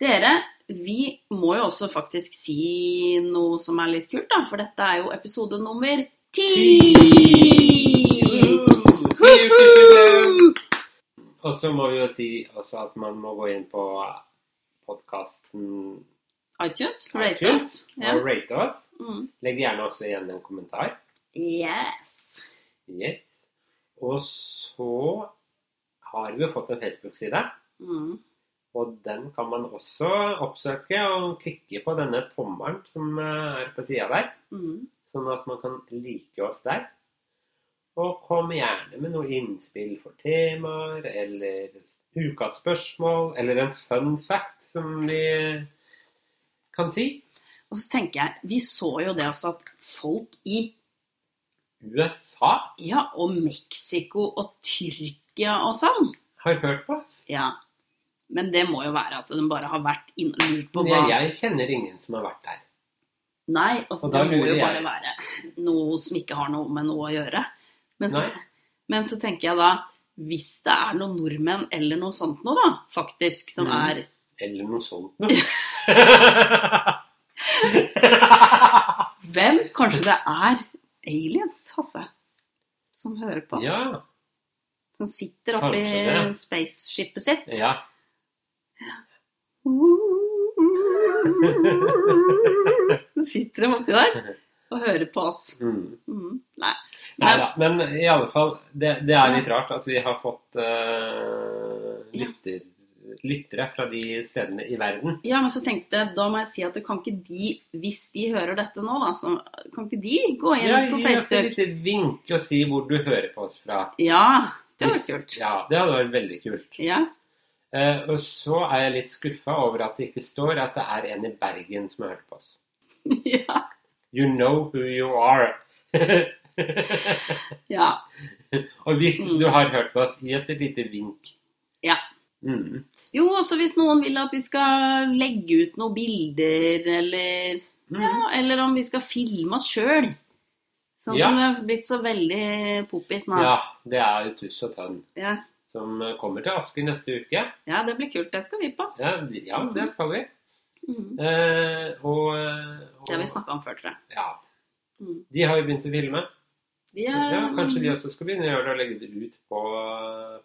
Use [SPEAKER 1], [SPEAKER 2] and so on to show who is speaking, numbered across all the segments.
[SPEAKER 1] Dere, vi må jo også faktisk si noe som er litt kult, da. For dette er jo episode nummer ti!
[SPEAKER 2] Ukesjubileum! Og så må vi jo si også at man må gå inn på podkasten
[SPEAKER 1] iTunes? Rate oss. Ja.
[SPEAKER 2] og rate oss.
[SPEAKER 1] Mm.
[SPEAKER 2] Legg gjerne også igjen en kommentar.
[SPEAKER 1] Yes.
[SPEAKER 2] Yes. Og så har vi jo fått en Facebook-side,
[SPEAKER 1] Mm.
[SPEAKER 2] og den kan man også oppsøke og klikke på denne tommelen som eh, er på sida der.
[SPEAKER 1] Mm.
[SPEAKER 2] sånn at man kan like oss der. Og kom gjerne med noe innspill for temaer, eller ukas spørsmål, eller en fun fact, som vi kan si.
[SPEAKER 1] Og så tenker jeg, vi så jo det altså at folk i
[SPEAKER 2] USA
[SPEAKER 1] ja, og Mexico og Tyrkia og sånn
[SPEAKER 2] har hørt på oss.
[SPEAKER 1] Ja. Men det må jo være at de bare har vært inn og lurt på
[SPEAKER 2] Men
[SPEAKER 1] hva
[SPEAKER 2] jeg, jeg kjenner ingen som har vært der.
[SPEAKER 1] Nei, altså
[SPEAKER 2] Og
[SPEAKER 1] det
[SPEAKER 2] da
[SPEAKER 1] må
[SPEAKER 2] lurer
[SPEAKER 1] jo
[SPEAKER 2] jeg.
[SPEAKER 1] bare være noe som ikke har noe med noe å gjøre. Men så,
[SPEAKER 2] Nei.
[SPEAKER 1] men så tenker jeg da, hvis det er noen nordmenn eller noe sånt nå da, faktisk, som
[SPEAKER 2] Mm.
[SPEAKER 1] er
[SPEAKER 2] Eller noe sånt noe.
[SPEAKER 1] Hvem? Kanskje det er aliens, Hasse, som hører på oss?
[SPEAKER 2] ja,
[SPEAKER 1] Som sitter oppi
[SPEAKER 2] Kanskje det.
[SPEAKER 1] spaceshipet sitt?
[SPEAKER 2] ja.
[SPEAKER 1] Så sitter de oppi der og hører på oss.
[SPEAKER 2] Mm.
[SPEAKER 1] Mm. Nei.
[SPEAKER 2] Nei da. Men i alle fall, det, det er litt rart at vi har fått eh,
[SPEAKER 1] Ja.
[SPEAKER 2] lytter, lyttere fra de stedene i verden.
[SPEAKER 1] Ja, men så tenkte jeg, da må jeg si at det kan ikke de, hvis de hører dette nå, da, så kan ikke de gå inn
[SPEAKER 2] Ja,
[SPEAKER 1] på
[SPEAKER 2] gi oss et
[SPEAKER 1] Facebook?
[SPEAKER 2] lite vink og si hvor du hører på oss fra.
[SPEAKER 1] Ja, det var
[SPEAKER 2] Hvis-
[SPEAKER 1] kult.
[SPEAKER 2] Ja, det hadde vært veldig kult.
[SPEAKER 1] Ja.
[SPEAKER 2] Eh, og så er jeg litt skuffa over at det ikke står at det er en i Bergen som har hørt på oss.
[SPEAKER 1] ja.
[SPEAKER 2] You know who you are.
[SPEAKER 1] ja.
[SPEAKER 2] og hvis
[SPEAKER 1] Mm.
[SPEAKER 2] du har hørt på oss, gi oss et lite vink.
[SPEAKER 1] Ja.
[SPEAKER 2] Mm.
[SPEAKER 1] Jo, også hvis noen vil at vi skal legge ut noen bilder, eller
[SPEAKER 2] Mm.
[SPEAKER 1] Ja, eller om vi skal filme oss sjøl. Sånn
[SPEAKER 2] Ja.
[SPEAKER 1] som det har blitt så veldig poppis nå.
[SPEAKER 2] ja, det er jo Tuss og Tønn
[SPEAKER 1] Ja.
[SPEAKER 2] som kommer til Asker neste uke.
[SPEAKER 1] ja, det blir kult. Det skal vi på.
[SPEAKER 2] Ja, de- ja
[SPEAKER 1] Mm.
[SPEAKER 2] det skal vi.
[SPEAKER 1] Mm.
[SPEAKER 2] Eh, og, eh, og
[SPEAKER 1] Det har vi snakka om før, tror jeg.
[SPEAKER 2] Ja.
[SPEAKER 1] Mm.
[SPEAKER 2] De har jo begynt å filme.
[SPEAKER 1] De er,
[SPEAKER 2] Ja, kanskje vi også skal begynne å gjøre det og legge det ut på,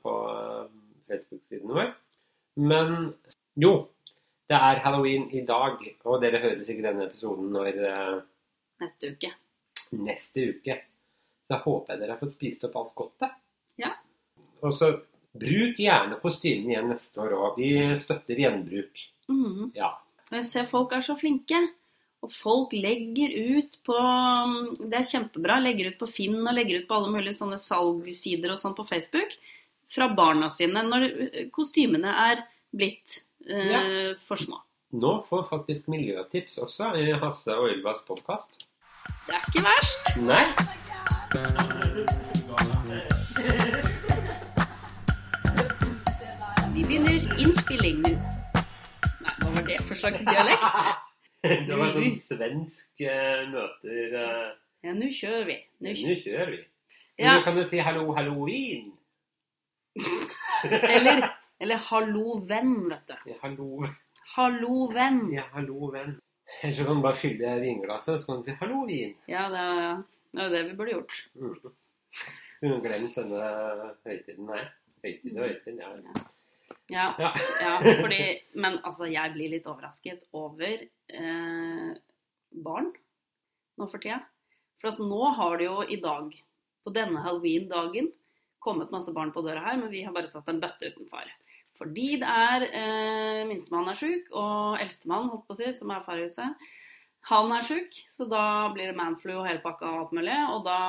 [SPEAKER 2] på eh, Facebook-siden vår. Men jo, det er halloween i dag, og dere hører sikkert denne episoden når eh,
[SPEAKER 1] Neste uke.
[SPEAKER 2] neste uke. Så jeg håper jeg dere har fått spist opp alt godtet.
[SPEAKER 1] Ja.
[SPEAKER 2] Og så bruk gjerne kostymen igjen neste år òg. Vi støtter gjenbruk.
[SPEAKER 1] Mm.
[SPEAKER 2] Ja.
[SPEAKER 1] Og jeg ser folk er så flinke. Og folk legger ut på Det er kjempebra. Legger ut på Finn og legger ut på alle mulige sånne salgsider og sånn på Facebook. Fra barna sine når eh, kostymene er blitt eh, for små.
[SPEAKER 2] Nå får faktisk miljøtips også i Hasse og Ylvas podkast.
[SPEAKER 1] Det er ikke verst.
[SPEAKER 2] Nei?
[SPEAKER 1] Vi begynner innspilling nå. Nei, hva var det for slags dialekt?
[SPEAKER 2] Det var sånn svensk eh, møter eh,
[SPEAKER 1] Ja, nå kjører vi. Nå
[SPEAKER 2] Nå
[SPEAKER 1] kjører.
[SPEAKER 2] kjører vi.
[SPEAKER 1] Ja,
[SPEAKER 2] Nå kan du si 'hallo, halloween'.
[SPEAKER 1] eller, eller 'hallo, venn', vet du.
[SPEAKER 2] Ja, hallo,
[SPEAKER 1] 'Hallo, venn'.
[SPEAKER 2] ja, hallo venn. Eller så kan du bare fylle vinglasset, så kan du si 'hallo, vin'.
[SPEAKER 1] Ja, det er det, er det vi burde gjort.
[SPEAKER 2] Mm. Du har glemt denne høytiden her. Høytid og høytid, ja.
[SPEAKER 1] Ja.
[SPEAKER 2] ja.
[SPEAKER 1] Ja, fordi, men altså, jeg blir litt overrasket over eh, barn nå for tida. For at nå har det jo i dag, på denne halloween-dagen, kommet masse barn på døra her, men vi har bare satt en bøtte utenfor. Fordi det er eh, minstemann er sjuk, og eldstemann, holdt på å si, som er far i huset, han er sjuk, så da blir det manflu og hele pakka og alt mulig. Og da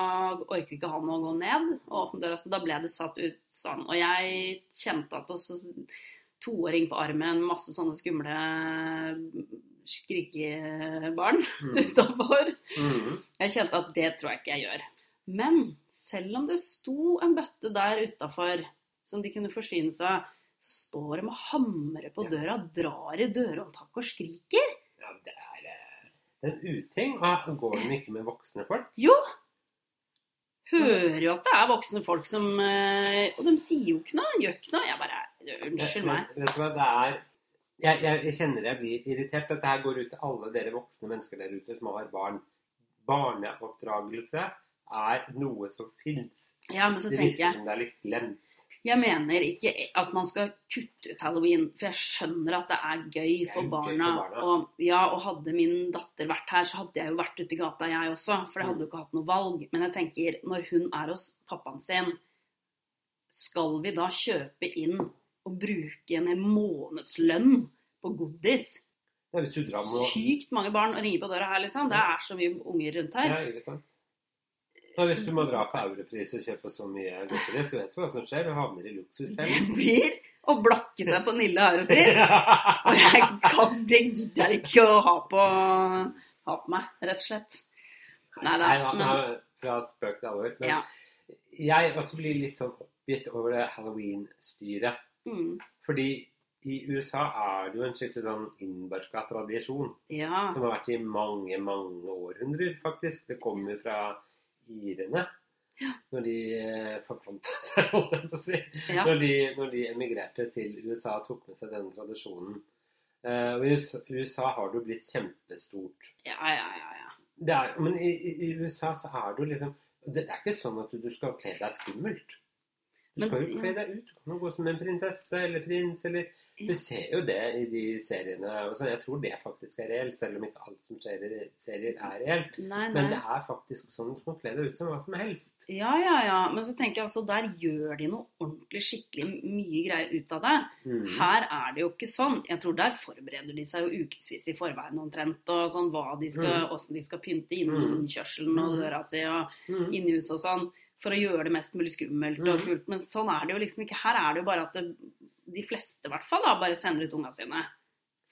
[SPEAKER 1] orker ikke han å gå ned og åpne døra, så da ble det satt ut sånn. Og jeg kjente at også toåring på armen, masse sånne skumle skrikebarn
[SPEAKER 2] Mm.
[SPEAKER 1] utafor.
[SPEAKER 2] Mm.
[SPEAKER 1] Jeg kjente at det tror jeg ikke jeg gjør. Men selv om det sto en bøtte der utafor som de kunne forsyne seg, så står de og hamrer på
[SPEAKER 2] Ja.
[SPEAKER 1] døra, drar i dørhåndtaket og skriker.
[SPEAKER 2] ja, det er eh, en uting. Ah, Går de ikke med voksne folk?
[SPEAKER 1] Hører jo at det er voksne folk som eh, Og de sier jo ikke noe, gjør ikke noe. Jeg bare Unnskyld meg.
[SPEAKER 2] Vet du hva, det er jeg, jeg, jeg kjenner jeg blir irritert. Dette her går ut til alle dere voksne mennesker der ute som har barn. Barneoppdragelse er noe som fins.
[SPEAKER 1] Ja, men så
[SPEAKER 2] Det
[SPEAKER 1] tenker
[SPEAKER 2] virker
[SPEAKER 1] jeg
[SPEAKER 2] som det er litt glemt.
[SPEAKER 1] Jeg mener ikke at man skal kutte ut halloween, for jeg skjønner at det er gøy
[SPEAKER 2] er
[SPEAKER 1] for
[SPEAKER 2] gøy for
[SPEAKER 1] barna.
[SPEAKER 2] barna.
[SPEAKER 1] Og, ja, og hadde min datter vært her, så hadde jeg jo vært ute i gata, jeg også. For jeg hadde jo ikke hatt noe valg. Men jeg tenker, når hun er hos pappaen sin, skal vi da kjøpe inn og bruke en hel månedslønn på godis?
[SPEAKER 2] Ja, hvis du drar med
[SPEAKER 1] Sykt mange barn ringer på døra her, liksom. Det er så mye unger rundt her.
[SPEAKER 2] Ja, ikke sant? Ja, hvis du må dra på europris og kjøpe så mye godteri, så vet du hva som skjer. Du havner i
[SPEAKER 1] Det
[SPEAKER 2] luksusfellen.
[SPEAKER 1] blir å blakke seg på Nille Europris. Og jeg kan, det gidder jeg ikke å ha på, ha på meg, rett og slett. Nei da,
[SPEAKER 2] Nei da,
[SPEAKER 1] men
[SPEAKER 2] da- fra spøk til alvor. Men
[SPEAKER 1] Ja.
[SPEAKER 2] jeg også blir litt sånn oppgitt over det halloween-styret.
[SPEAKER 1] mm,
[SPEAKER 2] Fordi i USA er det jo en skikkelig sånn innbarka tradisjon
[SPEAKER 1] Ja.
[SPEAKER 2] som har vært i mange, mange århundrer, faktisk. Det kommer fra irene. Når de eh, forfant seg, holdt jeg på å si.
[SPEAKER 1] ja.
[SPEAKER 2] når, de, når de emigrerte til USA og tok med seg denne tradisjonen. Eh, og I USA- USA har det jo blitt kjempestort.
[SPEAKER 1] Ja, ja, ja, ja.
[SPEAKER 2] Det er, men i, i- i USA så er det jo liksom Det det er ikke sånn at du, du skal kle deg skummelt. Du
[SPEAKER 1] Men-
[SPEAKER 2] skal jo kle
[SPEAKER 1] ja.
[SPEAKER 2] deg ut. Du kan jo gå som en prinsesse eller prins eller Du
[SPEAKER 1] Ja.
[SPEAKER 2] ser jo det i de seriene. Og så jeg tror det faktisk er reelt, selv om ikke alt som skjer i serier, er reelt.
[SPEAKER 1] Nei,
[SPEAKER 2] Men det
[SPEAKER 1] nei.
[SPEAKER 2] er faktisk sånn du kan kle deg ut som hva som helst.
[SPEAKER 1] Ja, ja, ja. Men så tenker jeg også, der gjør de noe ordentlig skikkelig mye greier ut av det.
[SPEAKER 2] Mm.
[SPEAKER 1] Her er det jo ikke sånn. Jeg tror der forbereder de seg jo ukevis i forveien omtrent. Og sånn hva de skal, åssen de skal pynte innkjørselen og
[SPEAKER 2] Mm.
[SPEAKER 1] døra si og
[SPEAKER 2] Mm.
[SPEAKER 1] inni huset og sånn. For å gjøre det mest mulig skummelt og
[SPEAKER 2] Mm.
[SPEAKER 1] kult. Men sånn er det jo liksom ikke. Her er det jo bare at det, de fleste, i hvert fall, da, bare sender ut unga sine.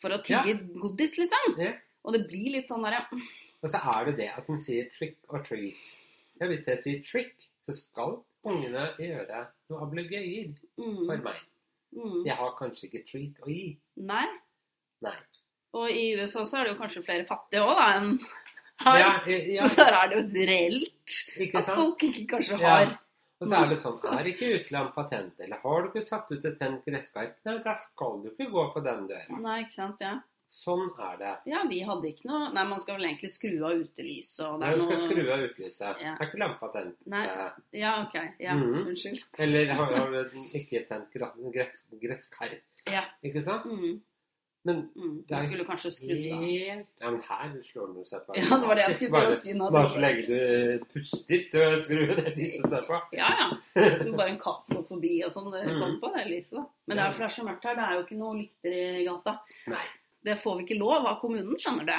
[SPEAKER 1] For å tigge godis, liksom.
[SPEAKER 2] Ja.
[SPEAKER 1] Og det blir litt sånn derre
[SPEAKER 2] Og så er det det at den sier 'trick or treat'. Ja, hvis jeg sier 'trick', så skal ungene gjøre noe ablegøyer for
[SPEAKER 1] mm,
[SPEAKER 2] meg.
[SPEAKER 1] mm.
[SPEAKER 2] Jeg har kanskje ikke 'treat' å gi.
[SPEAKER 1] Nei.
[SPEAKER 2] Nei.
[SPEAKER 1] Og i USA så er det jo kanskje flere fattige òg, da, enn her.
[SPEAKER 2] Ja, eh, ja,
[SPEAKER 1] Så der er det jo et reelt
[SPEAKER 2] ikke
[SPEAKER 1] at
[SPEAKER 2] sant?
[SPEAKER 1] folk ikke kanskje
[SPEAKER 2] Ja.
[SPEAKER 1] har
[SPEAKER 2] Og så er det sånn Er ikke Utland patent? Eller har du ikke satt ut et tent gresskarp? Nei, da skal du ikke gå på den døra.
[SPEAKER 1] Nei, ikke sant, ja.
[SPEAKER 2] Sånn er det.
[SPEAKER 1] Ja, vi hadde ikke noe Nei, man skal vel egentlig skru av utelyset og det
[SPEAKER 2] Når
[SPEAKER 1] er
[SPEAKER 2] du skal
[SPEAKER 1] noe
[SPEAKER 2] skru av utlyset.
[SPEAKER 1] Ja.
[SPEAKER 2] Er ikke lampa tent?
[SPEAKER 1] Nei.
[SPEAKER 2] Eh,
[SPEAKER 1] Ja, OK. Ja,
[SPEAKER 2] Mhm.
[SPEAKER 1] unnskyld.
[SPEAKER 2] Eller har, har du ikke tent gress, gress, gresskarp?
[SPEAKER 1] Ja.
[SPEAKER 2] Ikke sant?
[SPEAKER 1] Mm,
[SPEAKER 2] Men
[SPEAKER 1] mm.
[SPEAKER 2] Det er
[SPEAKER 1] Vi skulle kanskje skrudd av.
[SPEAKER 2] Helt Ja, men her slår den jo seg på.
[SPEAKER 1] Ja, det var det jeg skulle til å si nå.
[SPEAKER 2] Bare så lenge du puster, så skrur jo det lyset seg på.
[SPEAKER 1] Ja, ja. Det var Bare en katt går forbi og sånn. Det
[SPEAKER 2] Mhm.
[SPEAKER 1] kom på det lyset. da. Men det er fordi det er så mørkt her. Det er jo ikke noe lykter i gata.
[SPEAKER 2] Nei.
[SPEAKER 1] Det får vi ikke lov av kommunen, skjønner du.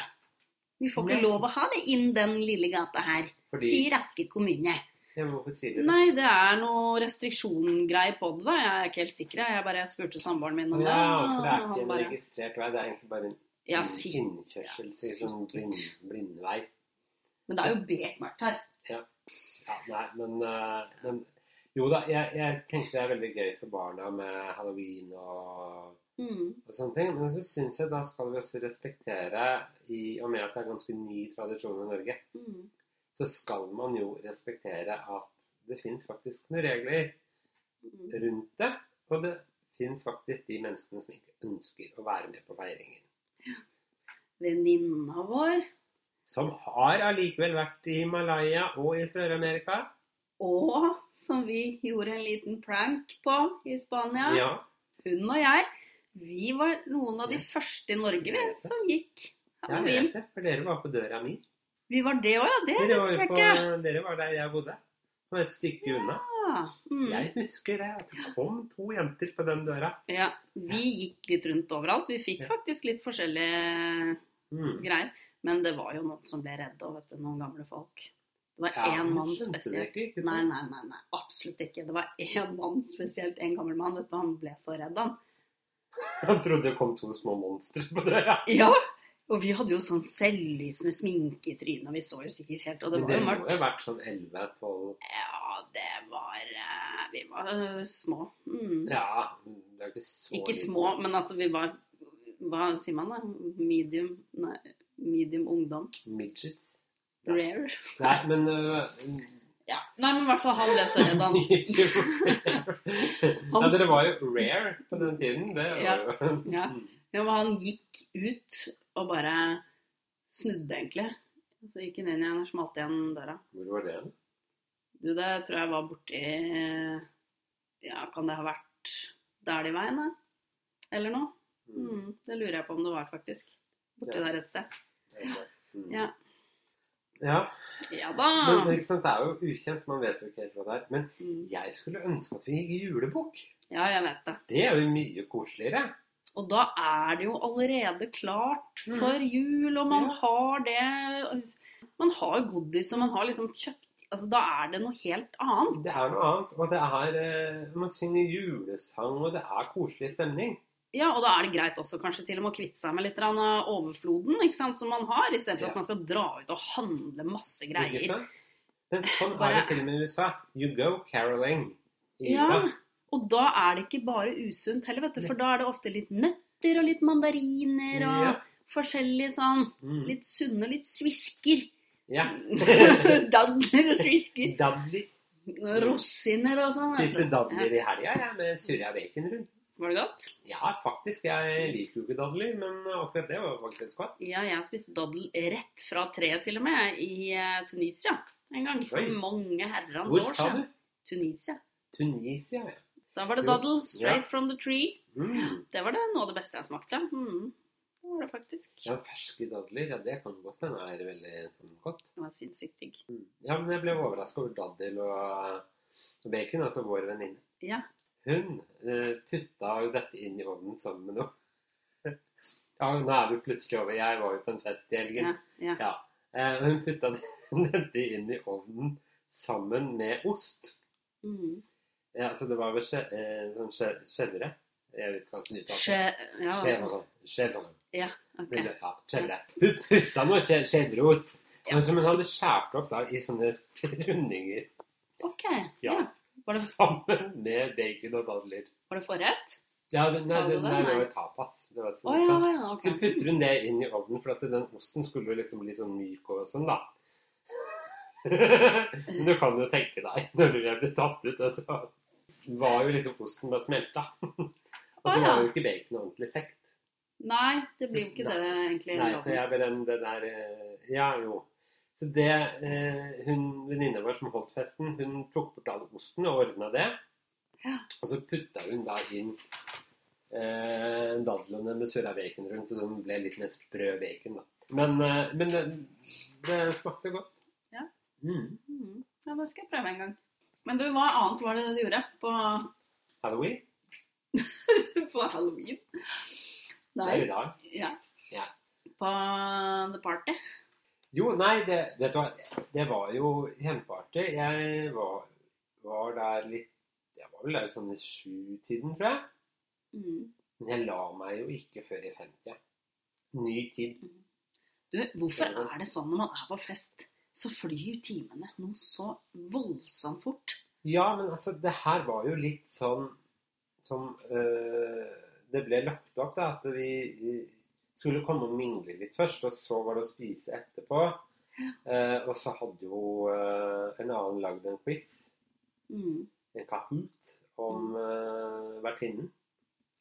[SPEAKER 1] Vi får ikke
[SPEAKER 2] Nei.
[SPEAKER 1] lov å ha det inn den lille gata her,
[SPEAKER 2] Fordi
[SPEAKER 1] sier Asker kommune.
[SPEAKER 2] Jeg må få si det.
[SPEAKER 1] Nei, det er noe restriksjonsgreier på det. da. Jeg er ikke helt sikker. jeg. Jeg bare spurte samboeren min om det.
[SPEAKER 2] Ja, for det er
[SPEAKER 1] og
[SPEAKER 2] ikke
[SPEAKER 1] han
[SPEAKER 2] en
[SPEAKER 1] bare-
[SPEAKER 2] registrert vei. Det er egentlig bare en
[SPEAKER 1] Ja,
[SPEAKER 2] inn-
[SPEAKER 1] sikkert.
[SPEAKER 2] innkjørsel, så en sånn
[SPEAKER 1] sikkert.
[SPEAKER 2] blind, blindvei.
[SPEAKER 1] Men det er jo bekmørkt her.
[SPEAKER 2] Ja, nei, men, eh, men Jo da, jeg, jeg tenker det er veldig gøy for barna med halloween og
[SPEAKER 1] Mm.
[SPEAKER 2] og sånne ting, Men så syns jeg da skal vi også respektere, i og med at det er ganske ny tradisjon i Norge,
[SPEAKER 1] Mm.
[SPEAKER 2] så skal man jo respektere at det fins faktisk noen regler
[SPEAKER 1] Mm.
[SPEAKER 2] rundt det. Og det fins faktisk de menneskene som ikke ønsker å være med på feiringen.
[SPEAKER 1] Venninna vår
[SPEAKER 2] Som har allikevel vært i Himalaya og i Sør-Amerika.
[SPEAKER 1] og som vi gjorde en liten prank på i Spania,
[SPEAKER 2] Ja.
[SPEAKER 1] hun og jeg, vi var noen av de
[SPEAKER 2] Ja.
[SPEAKER 1] første i Norge vi,
[SPEAKER 2] Jeg vet det.
[SPEAKER 1] som gikk
[SPEAKER 2] Jeg
[SPEAKER 1] halloween.
[SPEAKER 2] vet det, for dere var på døra mi.
[SPEAKER 1] Vi var det òg, ja. Det
[SPEAKER 2] Dere var,
[SPEAKER 1] husker
[SPEAKER 2] jo
[SPEAKER 1] jeg
[SPEAKER 2] på,
[SPEAKER 1] ikke.
[SPEAKER 2] dere var der jeg bodde. Det var et stykke unna.
[SPEAKER 1] Ah, mm.
[SPEAKER 2] Jeg husker det. At det kom to jenter på den døra.
[SPEAKER 1] Ja, vi gikk litt rundt overalt. Vi fikk
[SPEAKER 2] Ja.
[SPEAKER 1] faktisk litt forskjellige
[SPEAKER 2] Mm.
[SPEAKER 1] greier. Men det var jo noen som ble redde, og vet du, noen gamle folk. Det var én
[SPEAKER 2] men
[SPEAKER 1] mann
[SPEAKER 2] skjønte dere
[SPEAKER 1] spesielt.
[SPEAKER 2] ikke, ikke sånn?
[SPEAKER 1] Nei,
[SPEAKER 2] sant?
[SPEAKER 1] nei, nei, nei, absolutt ikke. Det var én mann spesielt, en gammel mann. Vet du, Han ble så redd, han.
[SPEAKER 2] Han trodde det kom to små monstre på døra.
[SPEAKER 1] Ja! Og vi hadde jo sånn selvlysende sminke i trynet, og vi så jo sikkert helt Og det
[SPEAKER 2] Men
[SPEAKER 1] var jo
[SPEAKER 2] må jo
[SPEAKER 1] mørkt.
[SPEAKER 2] ha vært sånn 11-12
[SPEAKER 1] Ja, det var eh, Vi var eh, små. Mm.
[SPEAKER 2] Ja, det er ikke så
[SPEAKER 1] Ikke
[SPEAKER 2] lite.
[SPEAKER 1] små, men altså vi var Hva sier man da? Medium Nei, medium ungdom.
[SPEAKER 2] Midget. Nei.
[SPEAKER 1] Rare.
[SPEAKER 2] Nei, men øh,
[SPEAKER 1] Ja. Nei, men i hvert fall han ble så redd, han.
[SPEAKER 2] Nei, dere var jo Mm. rare på den tiden. Det var
[SPEAKER 1] Ja.
[SPEAKER 2] jo
[SPEAKER 1] Ja. Ja, men han gikk ut og bare snudde, egentlig. Så gikk han inn igjen og smalt igjen døra.
[SPEAKER 2] Hvor var det? hen?
[SPEAKER 1] Du, det tror jeg var borti Ja, kan det ha vært der i veien, da? Eller noe?
[SPEAKER 2] Mm.
[SPEAKER 1] Mm, det lurer jeg på om det var, faktisk. Borti
[SPEAKER 2] Ja.
[SPEAKER 1] der et sted.
[SPEAKER 2] Mm.
[SPEAKER 1] Ja. Ah.
[SPEAKER 2] ja.
[SPEAKER 1] Ja da!
[SPEAKER 2] Men, men ikke sant, det er jo ukjent. Man vet jo ikke helt hva det er. Men
[SPEAKER 1] Mm.
[SPEAKER 2] jeg skulle ønske at vi gikk julebukk.
[SPEAKER 1] Ja, jeg vet det.
[SPEAKER 2] Det er jo mye koseligere.
[SPEAKER 1] Og da er det jo allerede klart
[SPEAKER 2] Mm.
[SPEAKER 1] for jul, og man
[SPEAKER 2] Ja.
[SPEAKER 1] har det Man har godis, og man har liksom kjøpt Altså, da er det noe helt annet.
[SPEAKER 2] Det er noe annet. Og det er eh, Man synger julesang, og det er koselig stemning.
[SPEAKER 1] Ja, og da er det greit også kanskje til og med å kvitte seg med litt grann av overfloden ikke sant, som man har, istedenfor
[SPEAKER 2] Ja.
[SPEAKER 1] at man skal dra ut og handle masse
[SPEAKER 2] Ikke
[SPEAKER 1] greier.
[SPEAKER 2] sant? Men sånn er det
[SPEAKER 1] Bare-
[SPEAKER 2] til og med i USA. You go caroling. i
[SPEAKER 1] Ja,
[SPEAKER 2] jula.
[SPEAKER 1] og da er det ikke bare usunt heller, vet du, for da er det ofte litt nøtter og litt mandariner og
[SPEAKER 2] Ja.
[SPEAKER 1] forskjellig sånn
[SPEAKER 2] Mm.
[SPEAKER 1] litt sunne, litt svisker.
[SPEAKER 2] ja.
[SPEAKER 1] dadler og svisker.
[SPEAKER 2] Dadler.
[SPEAKER 1] Rosiner og sånn. vet du.
[SPEAKER 2] Spiste dadler i helga jeg, med surra bacon rundt.
[SPEAKER 1] Var det godt?
[SPEAKER 2] Ja, faktisk. Jeg liker jo ikke dadler, men akkurat det var faktisk godt.
[SPEAKER 1] Ja, jeg spiste daddel rett fra treet til og med i eh, Tunisia en gang. For
[SPEAKER 2] Oi.
[SPEAKER 1] mange herrens
[SPEAKER 2] Hvor
[SPEAKER 1] år
[SPEAKER 2] sa
[SPEAKER 1] siden.
[SPEAKER 2] du?
[SPEAKER 1] Tunisia.
[SPEAKER 2] Tunisia, ja.
[SPEAKER 1] Da var det
[SPEAKER 2] Jo.
[SPEAKER 1] daddel straight
[SPEAKER 2] Ja.
[SPEAKER 1] from the tree.
[SPEAKER 2] Mm.
[SPEAKER 1] Det var det noe av det beste jeg smakte. Mm. Det var det faktisk.
[SPEAKER 2] Ja, Ferske dadler, ja, det kan godt hende er veldig sånn, godt.
[SPEAKER 1] Det var sinnssykt digg.
[SPEAKER 2] Mm. Ja, men jeg ble overraska over daddel og og bacon, altså vår venninne.
[SPEAKER 1] Ja.
[SPEAKER 2] Hun eh, putta jo dette inn i ovnen sammen med noe. Ja, nå er vi plutselig over. Jeg var jo på en fest i helgen.
[SPEAKER 1] Ja, ja.
[SPEAKER 2] Eh, og hun putta dette inn i ovnen sammen med ost.
[SPEAKER 1] Mm.
[SPEAKER 2] Ja, så det var vel skje, eh, sånn skje, skjellere. Jeg vet ikke hva som uttales.
[SPEAKER 1] Skje... Ja, altså.
[SPEAKER 2] Skjevere. Skjevere.
[SPEAKER 1] ok.
[SPEAKER 2] Ville- Ja, skjevere. Hun putta noe skje- skjevreost.
[SPEAKER 1] Ja.
[SPEAKER 2] Men som hun hadde skåret opp da, i sånne rundinger
[SPEAKER 1] Ok,
[SPEAKER 2] Ja.
[SPEAKER 1] ja. Var det,
[SPEAKER 2] sammen med bacon og dadler.
[SPEAKER 1] var det forrett?
[SPEAKER 2] Ja, den,
[SPEAKER 1] Sa
[SPEAKER 2] nei,
[SPEAKER 1] du det?
[SPEAKER 2] den, nei, det var
[SPEAKER 1] Nei.
[SPEAKER 2] jo tapas. Det var sånn,
[SPEAKER 1] Å
[SPEAKER 2] ikke
[SPEAKER 1] ja,
[SPEAKER 2] sant?
[SPEAKER 1] ja, ok.
[SPEAKER 2] Så putter hun det inn i ovnen, for at den osten skulle jo liksom bli sånn myk og sånn, da. Men du kan jo tenke deg, når du ble tatt ut, altså, var jo liksom osten bare smelta. Og
[SPEAKER 1] Å,
[SPEAKER 2] så
[SPEAKER 1] ja.
[SPEAKER 2] var jo ikke baconet ordentlig stekt.
[SPEAKER 1] Nei, det blir jo ikke det egentlig.
[SPEAKER 2] Nei, så jeg bare den, det der eh, Ja, jo. Så det eh, hun venninna vår som holdt festen, hun tok bort all osten og ordna det.
[SPEAKER 1] Ja.
[SPEAKER 2] Og så putta hun da inn eh, dadlene med surra bacon rundt, så den ble litt mer sprø bacon, da. Men, eh, men det, det smakte godt.
[SPEAKER 1] Ja.
[SPEAKER 2] Mm.
[SPEAKER 1] Mm. Ja, det skal jeg prøve en gang. Men du, hva annet var det du gjorde på,
[SPEAKER 2] Halloween.
[SPEAKER 1] på halloween?
[SPEAKER 2] Det
[SPEAKER 1] Nei.
[SPEAKER 2] er i dag.
[SPEAKER 1] Ja.
[SPEAKER 2] Ja.
[SPEAKER 1] På the party?
[SPEAKER 2] Jo, nei, det, vet du hva. Det var jo hjemmeparty. Jeg var, var der litt Jeg var vel der sånn i sju-tiden, tror jeg.
[SPEAKER 1] Mm.
[SPEAKER 2] Men jeg la meg jo ikke før i 50. Ny tid.
[SPEAKER 1] Du, hvorfor
[SPEAKER 2] Det er sant.
[SPEAKER 1] er det sånn når man er på fest, så flyr timene noe så voldsomt fort?
[SPEAKER 2] Ja, men altså, det her var jo litt sånn som øh, det ble lagt opp, da. At vi øh, skulle komme og mingle litt først, og så var det å spise etterpå. Eh, og så hadde jo øh, en annen lagd en quiz,
[SPEAKER 1] Mm.
[SPEAKER 2] en kahoot, om øh, vertinnen.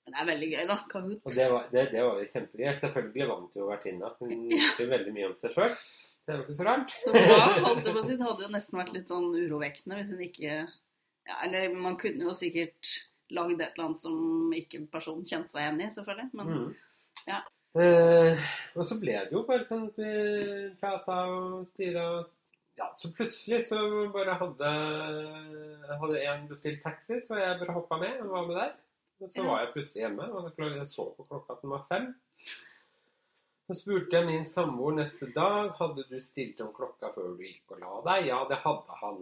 [SPEAKER 1] Det er veldig gøy, da. Kahoot.
[SPEAKER 2] Og det var, det, det var jo kjempegøy. Selvfølgelig vant jo vertinna. Hun visste jo veldig mye om seg sjøl. Det er jo ikke så rart.
[SPEAKER 1] Så bra, holdt jeg på å si. Det hadde jo nesten vært litt sånn urovekkende hvis hun ikke ja, Eller man kunne jo sikkert lagd et eller annet som ikke personen kjente seg igjen i, selvfølgelig. Men
[SPEAKER 2] Mm.
[SPEAKER 1] ja.
[SPEAKER 2] Eh, og så ble det jo bare sånn at vi prata og styra og ja, Så plutselig så bare hadde Hadde en bestilt taxi, så jeg bare hoppa med og var med der. Og så
[SPEAKER 1] Ja.
[SPEAKER 2] var jeg plutselig hjemme, og så klok- jeg så på klokka at den var fem. Så spurte jeg min samboer neste dag hadde du stilt om klokka før du gikk og la deg. Ja, det hadde han.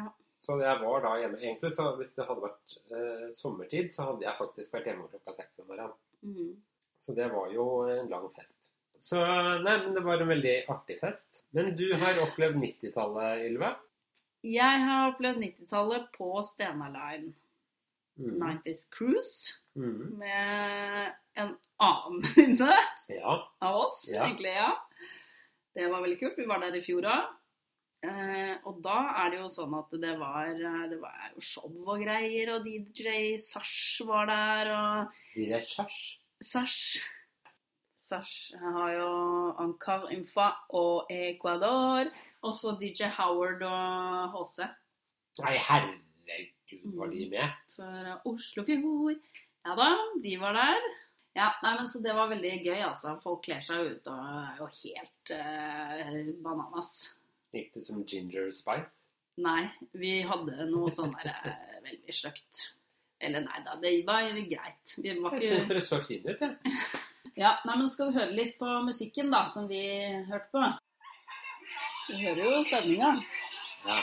[SPEAKER 1] ja.
[SPEAKER 2] Så jeg var da hjemme. Egentlig, så hvis det hadde vært eh, sommertid, så hadde jeg faktisk vært hjemme klokka seks om morgenen.
[SPEAKER 1] Mm.
[SPEAKER 2] Så det var jo en lang fest. Så nei, men det var en veldig artig fest. Men du har opplevd 90-tallet, Ylve?
[SPEAKER 1] Jeg har opplevd 90-tallet på Stena Line.
[SPEAKER 2] Mm.
[SPEAKER 1] 90's Cruise
[SPEAKER 2] Mm.
[SPEAKER 1] med en annen venninne
[SPEAKER 2] Ja.
[SPEAKER 1] av oss,
[SPEAKER 2] Ja.
[SPEAKER 1] egentlig. ja. Det var veldig kult. Vi var der i fjor òg. Eh, og da er det jo sånn at det var, eh, det var jo show og greier, og DJ Sash var der, og
[SPEAKER 2] De er kjærs.
[SPEAKER 1] Sash Sash har jo Ankar Umfa og Ecuador. Og så DJ Howard og HC
[SPEAKER 2] Nei, herregud, var
[SPEAKER 1] Mm.
[SPEAKER 2] de med?
[SPEAKER 1] fra Oslofjord. Ja da, de var der. Ja, nei, men Så det var veldig gøy, altså. Folk kler seg jo ut og er jo helt eh, bananas.
[SPEAKER 2] Gikk det som ginger spice?
[SPEAKER 1] Nei, vi hadde noe sånn der eh, veldig stygt. Eller nei da, det var greit. Vi var
[SPEAKER 2] Jeg syns
[SPEAKER 1] ikke
[SPEAKER 2] dere så fine ut, jeg.
[SPEAKER 1] Ja, nei, men skal vi høre litt på musikken, da, som vi hørte på? Du hører jo stemninga.
[SPEAKER 2] Ja.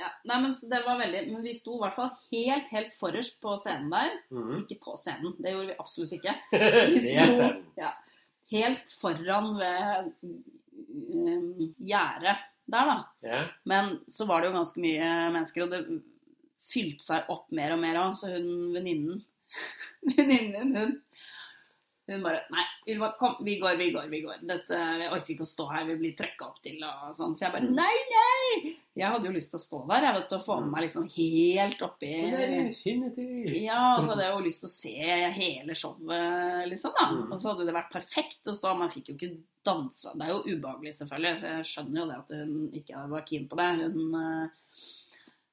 [SPEAKER 1] Ja, nei, men så det var veldig Men vi sto i hvert fall helt, helt forrest på scenen der.
[SPEAKER 2] Mhm.
[SPEAKER 1] Ikke på scenen, det gjorde vi absolutt ikke. Vi
[SPEAKER 2] Det er
[SPEAKER 1] sto
[SPEAKER 2] fem.
[SPEAKER 1] ja, helt foran ved um, gjerdet der, da.
[SPEAKER 2] Ja.
[SPEAKER 1] Men så var det jo ganske mye mennesker, og det fylte seg opp mer og mer òg. Så hun venninnen Venninnen, hun hun bare Nei, Ylva, kom, vi går, vi går, vi går. Dette, jeg orker ikke å stå her, vi blir trøkka opp til og sånn. Så jeg bare Nei, nei! Jeg hadde jo lyst til å stå der, jeg, vet du, og få med meg liksom helt oppi
[SPEAKER 2] Men det er definitivt.
[SPEAKER 1] Eh. ja, og så hadde jeg jo lyst til å se hele showet, liksom, da.
[SPEAKER 2] Mm.
[SPEAKER 1] Og så hadde det vært perfekt å stå. Man fikk jo ikke dansa. Det er jo ubehagelig, selvfølgelig. Så jeg skjønner jo det at hun ikke var keen på det. Hun eh,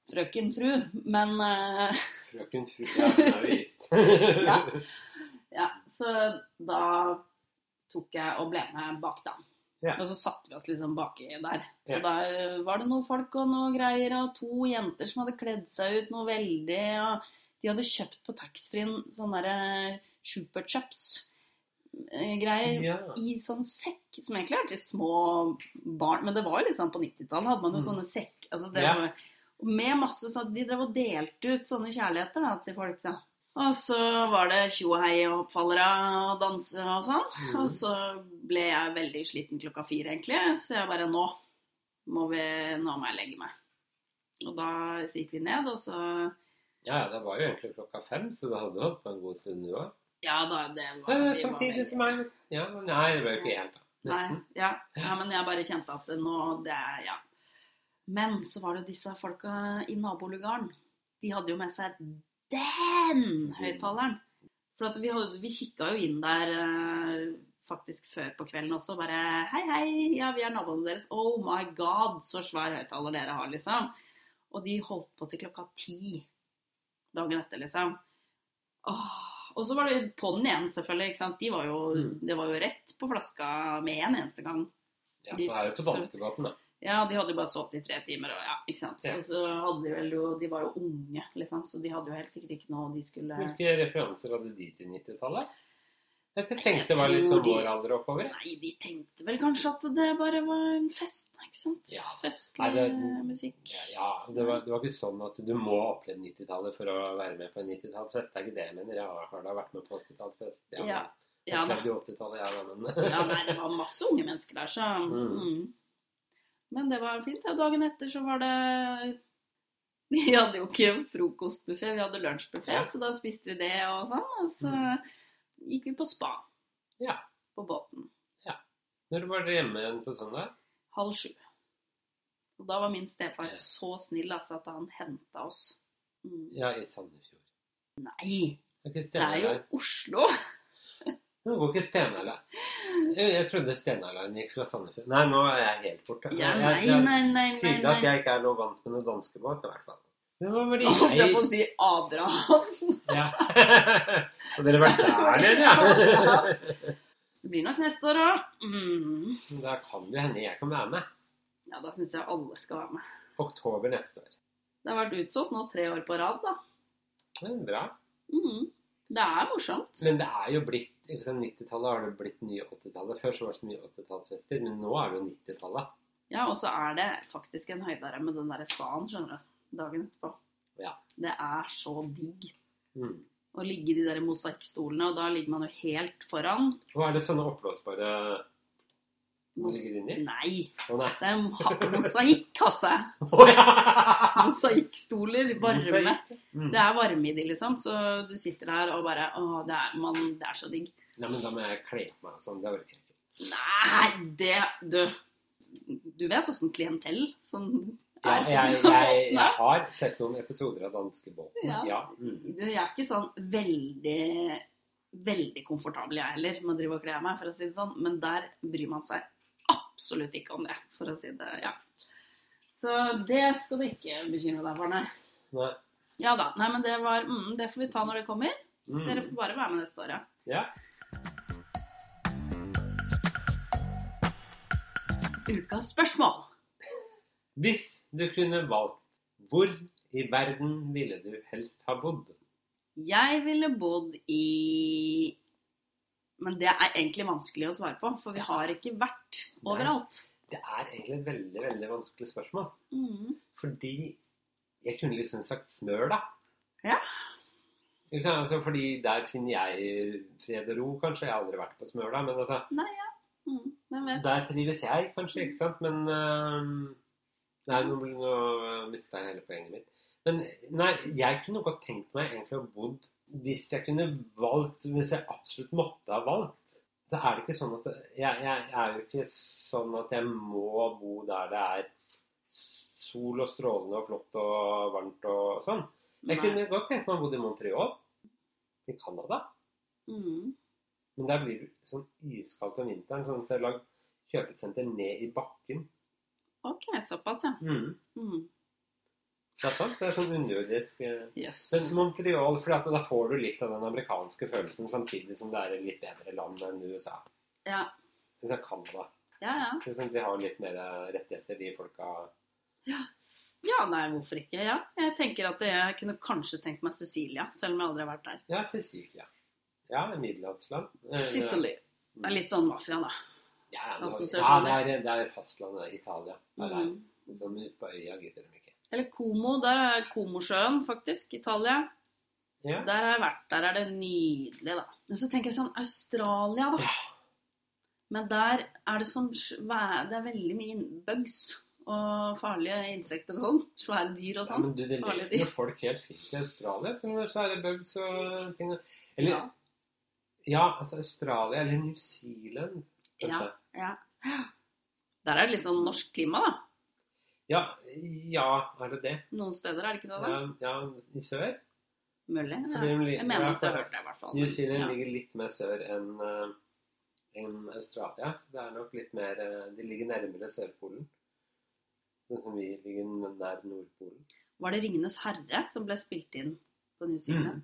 [SPEAKER 1] frøken fru. Men eh,
[SPEAKER 2] Frøken Fru ja, hun er jo gift.
[SPEAKER 1] ja. ja. Så da tok jeg og ble med bak den.
[SPEAKER 2] Ja.
[SPEAKER 1] Og så satte vi oss liksom baki der.
[SPEAKER 2] Ja.
[SPEAKER 1] Og der var det noen folk og noe greier, og to jenter som hadde kledd seg ut noe veldig. Og de hadde kjøpt på taxfree-en sånne eh, derre superchups-greier
[SPEAKER 2] Ja.
[SPEAKER 1] i sånn sekk, som egentlig er til små barn. Men det var jo litt sånn på 90-tallet, hadde man jo
[SPEAKER 2] Mm.
[SPEAKER 1] sånne sekk altså det
[SPEAKER 2] Ja.
[SPEAKER 1] var, Med masse sånn De drev og delte ut sånne kjærligheter da, til folk, da. Og så var det tjo og hei og hoppfallere og danse og sånn.
[SPEAKER 2] Mhm.
[SPEAKER 1] Og så ble jeg veldig sliten klokka fire, egentlig. Så jeg bare Nå må, vi, nå må jeg legge meg. Og da så gikk vi ned, og så
[SPEAKER 2] ja, det var jo egentlig klokka fem, så det hadde holdt på en god stund, du òg.
[SPEAKER 1] Ja da, det var vi
[SPEAKER 2] Ja,
[SPEAKER 1] var
[SPEAKER 2] Samtidig
[SPEAKER 1] veldig-
[SPEAKER 2] som jeg ja, men Nei, det ble jo ikke helt, da.
[SPEAKER 1] Nei,
[SPEAKER 2] Nesten.
[SPEAKER 1] ja. ja, men jeg bare kjente at det nå det er, ja. Men så var det jo disse folka i nabolugaren. De hadde jo med seg den høyttaleren. For at vi, hadde- vi kikka jo inn der eh, faktisk før på kvelden også, bare Hei, hei, ja, vi er naboene deres. Oh my god, så svær høyttaler dere har, liksom. Og de holdt på til klokka ti dagen etter, liksom. Åh. Og så var det på'n igjen, selvfølgelig. ikke sant? De var jo,
[SPEAKER 2] Mm.
[SPEAKER 1] Det var jo rett på flaska med en eneste gang.
[SPEAKER 2] Ja, det er jo på danskebåten, da.
[SPEAKER 1] Ja, de hadde jo bare sovet i tre timer, og ja, ikke sant.
[SPEAKER 2] Ja.
[SPEAKER 1] Og så hadde de vel jo De var jo unge, liksom, så de hadde jo helt sikkert ikke noe de skulle
[SPEAKER 2] Hvilke referanser hadde de til 90-tallet? Jeg
[SPEAKER 1] Jeg
[SPEAKER 2] tenkte det var litt
[SPEAKER 1] tror
[SPEAKER 2] sånn
[SPEAKER 1] de-
[SPEAKER 2] vår alder oppover. jeg.
[SPEAKER 1] Nei, de tenkte vel kanskje at det bare var en fest, ikke sant?
[SPEAKER 2] Ja.
[SPEAKER 1] Festlig
[SPEAKER 2] Nei, det-
[SPEAKER 1] musikk.
[SPEAKER 2] Ja, ja det, var, det var ikke sånn at du må ha opplevd 90-tallet for å være med på en 90-tallsfest. Det er ikke det jeg mener. Jeg har- har da vært med på 80-tallsfest. Ja, men-
[SPEAKER 1] Ja, Ja, da.
[SPEAKER 2] opplevde jo 80-tallet, ja, da, men
[SPEAKER 1] ja, nei, det var masse unge mennesker der, så
[SPEAKER 2] Mm.
[SPEAKER 1] mm. Men det var fint. Og dagen etter så var det Vi hadde jo ikke frokostbuffé, vi hadde lunsjbuffé,
[SPEAKER 2] Ja.
[SPEAKER 1] så da spiste vi det og sånn. Og så gikk vi på spa.
[SPEAKER 2] Ja.
[SPEAKER 1] På båten.
[SPEAKER 2] Når var dere hjemme igjen på søndag?
[SPEAKER 1] halv sju. Og da var min stefar
[SPEAKER 2] Ja.
[SPEAKER 1] så snill altså, at han henta oss. Mm.
[SPEAKER 2] Ja, i Sandefjord.
[SPEAKER 1] Nei,
[SPEAKER 2] Det er ikke
[SPEAKER 1] det er
[SPEAKER 2] Stena
[SPEAKER 1] jo
[SPEAKER 2] Line.
[SPEAKER 1] Oslo!
[SPEAKER 2] Nå går ikke Stena Line. Jeg, jeg trodde Stena Line gikk fra Sandefjord. Nei, nå er jeg helt borte.
[SPEAKER 1] Ja,
[SPEAKER 2] Jeg-
[SPEAKER 1] nei,
[SPEAKER 2] jeg- jeg-
[SPEAKER 1] nei, nei, nei.
[SPEAKER 2] Tydelig
[SPEAKER 1] nei.
[SPEAKER 2] at jeg ikke er noe vant med noen danskebåt, i hvert fall. Men hva var det
[SPEAKER 1] Nå Holdt jeg på å
[SPEAKER 2] jeg-
[SPEAKER 1] si Abraham?
[SPEAKER 2] Ja. Og dere har vært der nede, ja?
[SPEAKER 1] Det blir nok neste år òg. Mm.
[SPEAKER 2] Da kan det hende jeg kan være med.
[SPEAKER 1] Ja, da syns jeg alle skal være med.
[SPEAKER 2] Oktober neste år.
[SPEAKER 1] Det har vært utsolgt nå tre år på rad, da.
[SPEAKER 2] Det er bra.
[SPEAKER 1] Mm. Det er morsomt.
[SPEAKER 2] Men det er jo blitt ikke sant, 90-tallet har det blitt nye 80-tallet. Før så var det så mye 80-tallsfester, men nå er det jo 90-tallet.
[SPEAKER 1] Ja, og så er det faktisk en høydare med den derre spaden, skjønner du. Dagen etterpå.
[SPEAKER 2] Ja.
[SPEAKER 1] Det er så digg.
[SPEAKER 2] Mm.
[SPEAKER 1] Å ligge i de der mosaikkstolene, og da ligger man jo helt foran.
[SPEAKER 2] Og er det sånne oppblåsbare man ligger inni?
[SPEAKER 1] Nei,
[SPEAKER 2] Å nei.
[SPEAKER 1] det er ha- mosaikk, altså.
[SPEAKER 2] Å ja!
[SPEAKER 1] Mosaikkstoler, varme.
[SPEAKER 2] Mm.
[SPEAKER 1] Det er varme i de, liksom. Så du sitter der og bare Å, det er, man, det er så digg.
[SPEAKER 2] Nei, men da må jeg kle på meg og sånn. Det orker jeg ikke.
[SPEAKER 1] Nei, det Du, du vet åssen klientell som
[SPEAKER 2] Ja,
[SPEAKER 1] Er
[SPEAKER 2] jeg,
[SPEAKER 1] Danskebåten
[SPEAKER 2] jeg, jeg
[SPEAKER 1] her?
[SPEAKER 2] har sett noen episoder av Danskebåten.
[SPEAKER 1] Ja.
[SPEAKER 2] Ja. Mm.
[SPEAKER 1] Du, Jeg er ikke sånn veldig veldig komfortabel jeg heller med å drive og kle av meg, for å si det sånn. Men der bryr man seg absolutt ikke om det, for å si det ja. Så det skal du ikke bekymre deg for, nei.
[SPEAKER 2] Nei.
[SPEAKER 1] Ja da. Nei, men det var mm, Det får vi ta når det kommer. Dere
[SPEAKER 2] Mm.
[SPEAKER 1] får bare være med neste år, ja.
[SPEAKER 2] Ja.
[SPEAKER 1] Ukas spørsmål.
[SPEAKER 2] Hvis du kunne valgt, hvor i verden ville du helst ha bodd?
[SPEAKER 1] Jeg ville bodd i Men det er egentlig vanskelig å svare på, for vi har ikke vært
[SPEAKER 2] Nei.
[SPEAKER 1] overalt.
[SPEAKER 2] Det er egentlig et veldig, veldig vanskelig spørsmål.
[SPEAKER 1] Mm.
[SPEAKER 2] Fordi jeg kunne liksom sagt Smøla.
[SPEAKER 1] Ja.
[SPEAKER 2] Ikke sant? Altså, fordi der finner jeg fred og ro, kanskje. Jeg har aldri vært på Smøla, men altså
[SPEAKER 1] Nei, ja. Mm. Hvem vet?
[SPEAKER 2] Der trives jeg kanskje, ikke sant? Men øhm, Nei, nå, ble- nå mista jeg hele poenget mitt. Men nei, jeg kunne godt tenkt meg egentlig å bodd Hvis jeg kunne valgt, hvis jeg absolutt måtte ha valgt, så er det ikke sånn at Jeg, jeg er jo ikke sånn at jeg må bo der det er sol og strålende og flott og varmt og sånn. Jeg
[SPEAKER 1] Nei.
[SPEAKER 2] kunne godt tenkt meg å bo i Montreal i Canada.
[SPEAKER 1] Mm.
[SPEAKER 2] Men der blir det sånn iskaldt om vinteren, sånn at jeg har lagd kjøpesenter ned i bakken.
[SPEAKER 1] OK, såpass, ja. Mm.
[SPEAKER 2] Det er sant, det er sånn underjordisk eh.
[SPEAKER 1] Yes.
[SPEAKER 2] Men Montreal, for at da får du litt av den amerikanske følelsen samtidig som det er et litt bedre land enn USA.
[SPEAKER 1] Ja.
[SPEAKER 2] Hvis jeg kan da.
[SPEAKER 1] Ja, ja.
[SPEAKER 2] De har litt mer rettigheter, de folka.
[SPEAKER 1] Ja, nei, hvorfor ikke? Ja. Jeg tenker at jeg kunne kanskje tenkt meg Cecilia, selv om jeg aldri har vært der.
[SPEAKER 2] Ja, Sicilia. Ja, middelhavsland. Eh,
[SPEAKER 1] Sicily. Altså,
[SPEAKER 2] ja.
[SPEAKER 1] Det er litt sånn mafia, da.
[SPEAKER 2] Ja, nå- ja
[SPEAKER 1] assosiasjoner.
[SPEAKER 2] det, er, det er fastlandet. Italia. Der er
[SPEAKER 1] Mm.
[SPEAKER 2] det. Sånn ut på øya gidder de ikke.
[SPEAKER 1] Eller Como. Der er Komosjøen, faktisk. Italia.
[SPEAKER 2] Ja.
[SPEAKER 1] Der har jeg vært. Der er det nydelig, da. Men så tenker jeg sånn Australia, da. Men der er det sånn svæ- Det er veldig mye inn- bugs og farlige insekter og sånn. Svære dyr og
[SPEAKER 2] Ja,
[SPEAKER 1] sånn.
[SPEAKER 2] men du, det
[SPEAKER 1] Farlig
[SPEAKER 2] lever jo
[SPEAKER 1] dyr.
[SPEAKER 2] folk helt fint i Australia, som er svære bugs og ting. Eller, ja.
[SPEAKER 1] Ja.
[SPEAKER 2] altså Australia eller New Zealand, kanskje.
[SPEAKER 1] Der er det litt sånn norsk klima, da.
[SPEAKER 2] Ja, ja, er det det?
[SPEAKER 1] Noen steder er det ikke det, da.
[SPEAKER 2] Ja, ja i sør?
[SPEAKER 1] Mulig. Ja.
[SPEAKER 2] Fordi de li-
[SPEAKER 1] Jeg mener
[SPEAKER 2] ja,
[SPEAKER 1] at jeg har
[SPEAKER 2] for
[SPEAKER 1] hørt det, i hvert fall.
[SPEAKER 2] New
[SPEAKER 1] men-
[SPEAKER 2] Zealand
[SPEAKER 1] ja.
[SPEAKER 2] ligger litt mer sør enn eh, enn Australia, så det er nok litt mer eh, De ligger nærmere Sørpolen. Sånn som vi ligger nær Nordpolen.
[SPEAKER 1] Var det 'Ringenes herre' som ble spilt inn på New Zealand?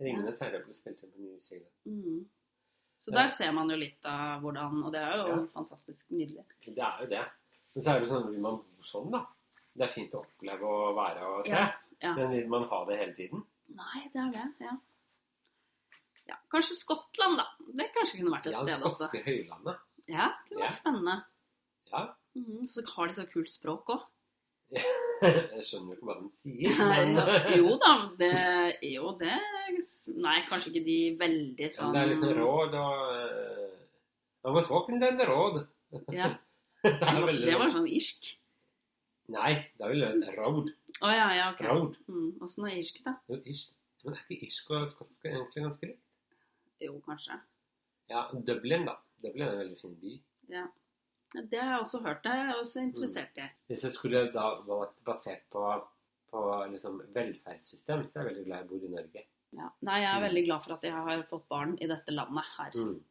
[SPEAKER 2] Ringenes herre ble spilt inn på New Zealand.
[SPEAKER 1] Mm. Så
[SPEAKER 2] Ja.
[SPEAKER 1] der ser man jo litt av hvordan Og det er jo
[SPEAKER 2] Ja.
[SPEAKER 1] fantastisk nydelig.
[SPEAKER 2] Det er jo det. Men så er det sånn vil man bo sånn, da. Det er fint å oppleve å være og se.
[SPEAKER 1] Ja, ja.
[SPEAKER 2] Men vil man ha det hele tiden?
[SPEAKER 1] Nei, det er det. Ja. ja. Kanskje Skottland, da. Det kanskje kunne vært et
[SPEAKER 2] Ja, det
[SPEAKER 1] sted også.
[SPEAKER 2] skotske høylandet.
[SPEAKER 1] Ja, det kunne
[SPEAKER 2] Ja.
[SPEAKER 1] vært spennende.
[SPEAKER 2] Ja.
[SPEAKER 1] Mm, så har de så kult språk òg.
[SPEAKER 2] Jeg skjønner jo ikke hva den sier, men
[SPEAKER 1] Jo da, det Jo, det Nei, kanskje ikke de veldig
[SPEAKER 2] Men
[SPEAKER 1] sånn
[SPEAKER 2] Det er liksom råd og eh, I was walking down the road.
[SPEAKER 1] sånn- Ja,
[SPEAKER 2] Det er veldig
[SPEAKER 1] det var sånn irsk.
[SPEAKER 2] Nei, det er vel en road.
[SPEAKER 1] Å ja, ja, ok.
[SPEAKER 2] Road.
[SPEAKER 1] Mm, Åssen er irsk, da?
[SPEAKER 2] Jo, irsk. Men er ikke irsk og skotsk egentlig ganske likt?
[SPEAKER 1] Jo, kanskje.
[SPEAKER 2] Ja, Dublin, da. Dublin er en veldig fin by.
[SPEAKER 1] Ja, Det har jeg også hørt. Det er jeg også interessert i.
[SPEAKER 2] Hvis jeg skulle da valgt basert på, på liksom velferdssystem, så er jeg veldig glad jeg bor i Norge.
[SPEAKER 1] Ja. Nei, jeg er
[SPEAKER 2] Mm.
[SPEAKER 1] veldig glad for at jeg har fått barn i dette landet her.
[SPEAKER 2] Mm.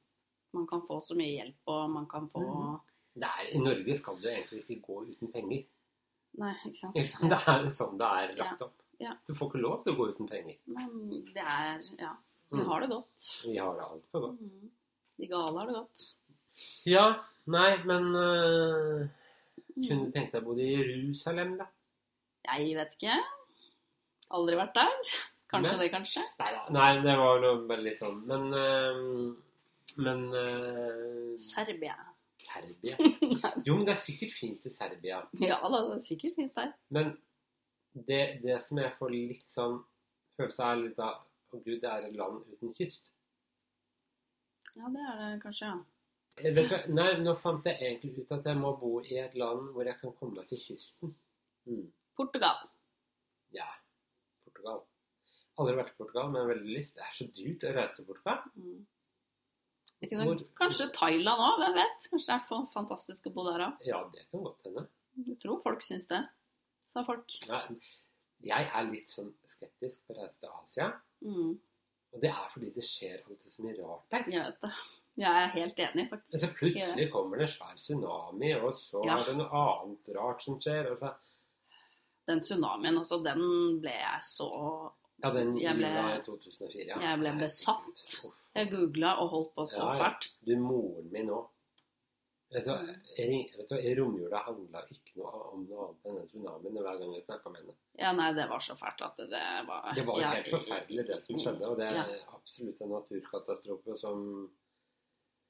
[SPEAKER 1] Man kan få så mye hjelp, og man kan få
[SPEAKER 2] Mm. Det er, I Norge skal du egentlig ikke gå uten penger.
[SPEAKER 1] Nei, ikke sant.
[SPEAKER 2] Ikke sant? Det er jo sånn det er lagt opp.
[SPEAKER 1] Ja.
[SPEAKER 2] Du får ikke lov til å gå uten penger.
[SPEAKER 1] Men det er Ja. Vi
[SPEAKER 2] Mm.
[SPEAKER 1] har det godt.
[SPEAKER 2] Vi har det altfor godt.
[SPEAKER 1] Mm. De gale har det godt.
[SPEAKER 2] Ja, nei, men øh, kunne
[SPEAKER 1] Mm.
[SPEAKER 2] du tenkt deg å bo i Jerusalem, da?
[SPEAKER 1] Jeg vet ikke. Aldri vært der. Kanskje
[SPEAKER 2] Men-
[SPEAKER 1] det, kanskje.
[SPEAKER 2] Neida. Nei, det var jo bare litt sånn Men øh, Men øh,
[SPEAKER 1] Serbia.
[SPEAKER 2] Serbia Jo, men det er sikkert fint i Serbia.
[SPEAKER 1] Ja da, det er sikkert fint der.
[SPEAKER 2] Men det, det som jeg får litt sånn følelse av, er litt av Å gud, det er et land uten kyst.
[SPEAKER 1] Ja, det er det kanskje, ja.
[SPEAKER 2] Jeg Eh, Vet du, hva? nei, nå fant jeg egentlig ut at jeg må bo i et land hvor jeg kan komme meg til kysten. Mm.
[SPEAKER 1] Portugal.
[SPEAKER 2] Ja. Portugal. Aldri vært i Portugal, men veldig lyst. Det er så dyrt å reise til Portugal.
[SPEAKER 1] Mm. Jeg kunne,
[SPEAKER 2] Hvor-
[SPEAKER 1] Kanskje Thailand òg, hvem vet? Kanskje det er fa- fantastisk å bo der òg.
[SPEAKER 2] Ja, det kan godt hende.
[SPEAKER 1] Jeg tror folk syns det. sa folk.
[SPEAKER 2] Nei, Jeg er litt sånn skeptisk på å reise til Asia.
[SPEAKER 1] Mm,
[SPEAKER 2] Og det er fordi det skjer alltid så mye rart der.
[SPEAKER 1] jeg vet det. Jeg er helt enig, faktisk.
[SPEAKER 2] Altså, plutselig kommer det en svær tsunami, og så
[SPEAKER 1] Ja.
[SPEAKER 2] er det noe annet rart som skjer. Altså,
[SPEAKER 1] Den tsunamien, altså, den ble jeg så
[SPEAKER 2] ja, den
[SPEAKER 1] Jeg ble-
[SPEAKER 2] jula i 2004. Ja.
[SPEAKER 1] jeg ble
[SPEAKER 2] Herregud.
[SPEAKER 1] besatt.
[SPEAKER 2] Uff.
[SPEAKER 1] Jeg googla og holdt på så
[SPEAKER 2] Ja, ja.
[SPEAKER 1] fælt.
[SPEAKER 2] Du, moren min òg. Vet du, hva,
[SPEAKER 1] Mm.
[SPEAKER 2] ring- vet du, hva, romjula handla ikke noe om noe annet enn den tsunamien hver gang jeg snakka med henne.
[SPEAKER 1] Ja, nei, det var så fælt at det var
[SPEAKER 2] Det var jo
[SPEAKER 1] Ja,
[SPEAKER 2] helt forferdelig, det som skjedde. Og det er absolutt en naturkatastrofe som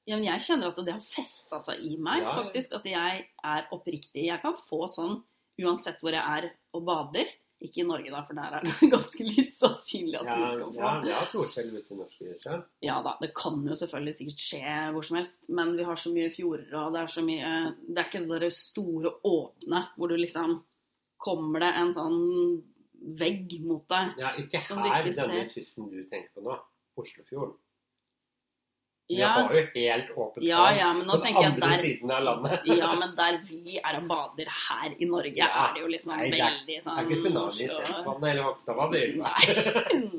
[SPEAKER 1] Ja, men jeg kjenner at det har festa seg i meg,
[SPEAKER 2] Ja, ja.
[SPEAKER 1] faktisk. At jeg er oppriktig. Jeg kan få sånn uansett hvor jeg er og bader. Ikke i Norge, da, for der er det ganske litt sannsynlig at
[SPEAKER 2] Ja,
[SPEAKER 1] du skal få.
[SPEAKER 2] ja, vi har jordskjelv ute i Norskesjøen.
[SPEAKER 1] Ja da, det kan jo selvfølgelig sikkert skje hvor som helst, men vi har så mye fjorder, og det er så mye Det er ikke det der store åpne hvor du liksom Kommer det en sånn vegg mot deg?
[SPEAKER 2] Ja, ikke
[SPEAKER 1] Som du
[SPEAKER 2] her,
[SPEAKER 1] ikke
[SPEAKER 2] denne
[SPEAKER 1] ser.
[SPEAKER 2] kysten du tenker på nå. Oslofjorden. Vi
[SPEAKER 1] Ja,
[SPEAKER 2] har jo helt åpent
[SPEAKER 1] ja,
[SPEAKER 2] vann
[SPEAKER 1] ja men nå
[SPEAKER 2] på den
[SPEAKER 1] tenker jeg
[SPEAKER 2] andre
[SPEAKER 1] der
[SPEAKER 2] siden av landet.
[SPEAKER 1] Ja, men der vi er og bader her i Norge,
[SPEAKER 2] Ja.
[SPEAKER 1] er det jo liksom
[SPEAKER 2] Nei, det er-
[SPEAKER 1] veldig
[SPEAKER 2] Det
[SPEAKER 1] sånn
[SPEAKER 2] er ikke tsunami i
[SPEAKER 1] Oslo-
[SPEAKER 2] Skjelsvannet eller Hogstadvann. det er
[SPEAKER 1] Mm. Nei.
[SPEAKER 2] jo-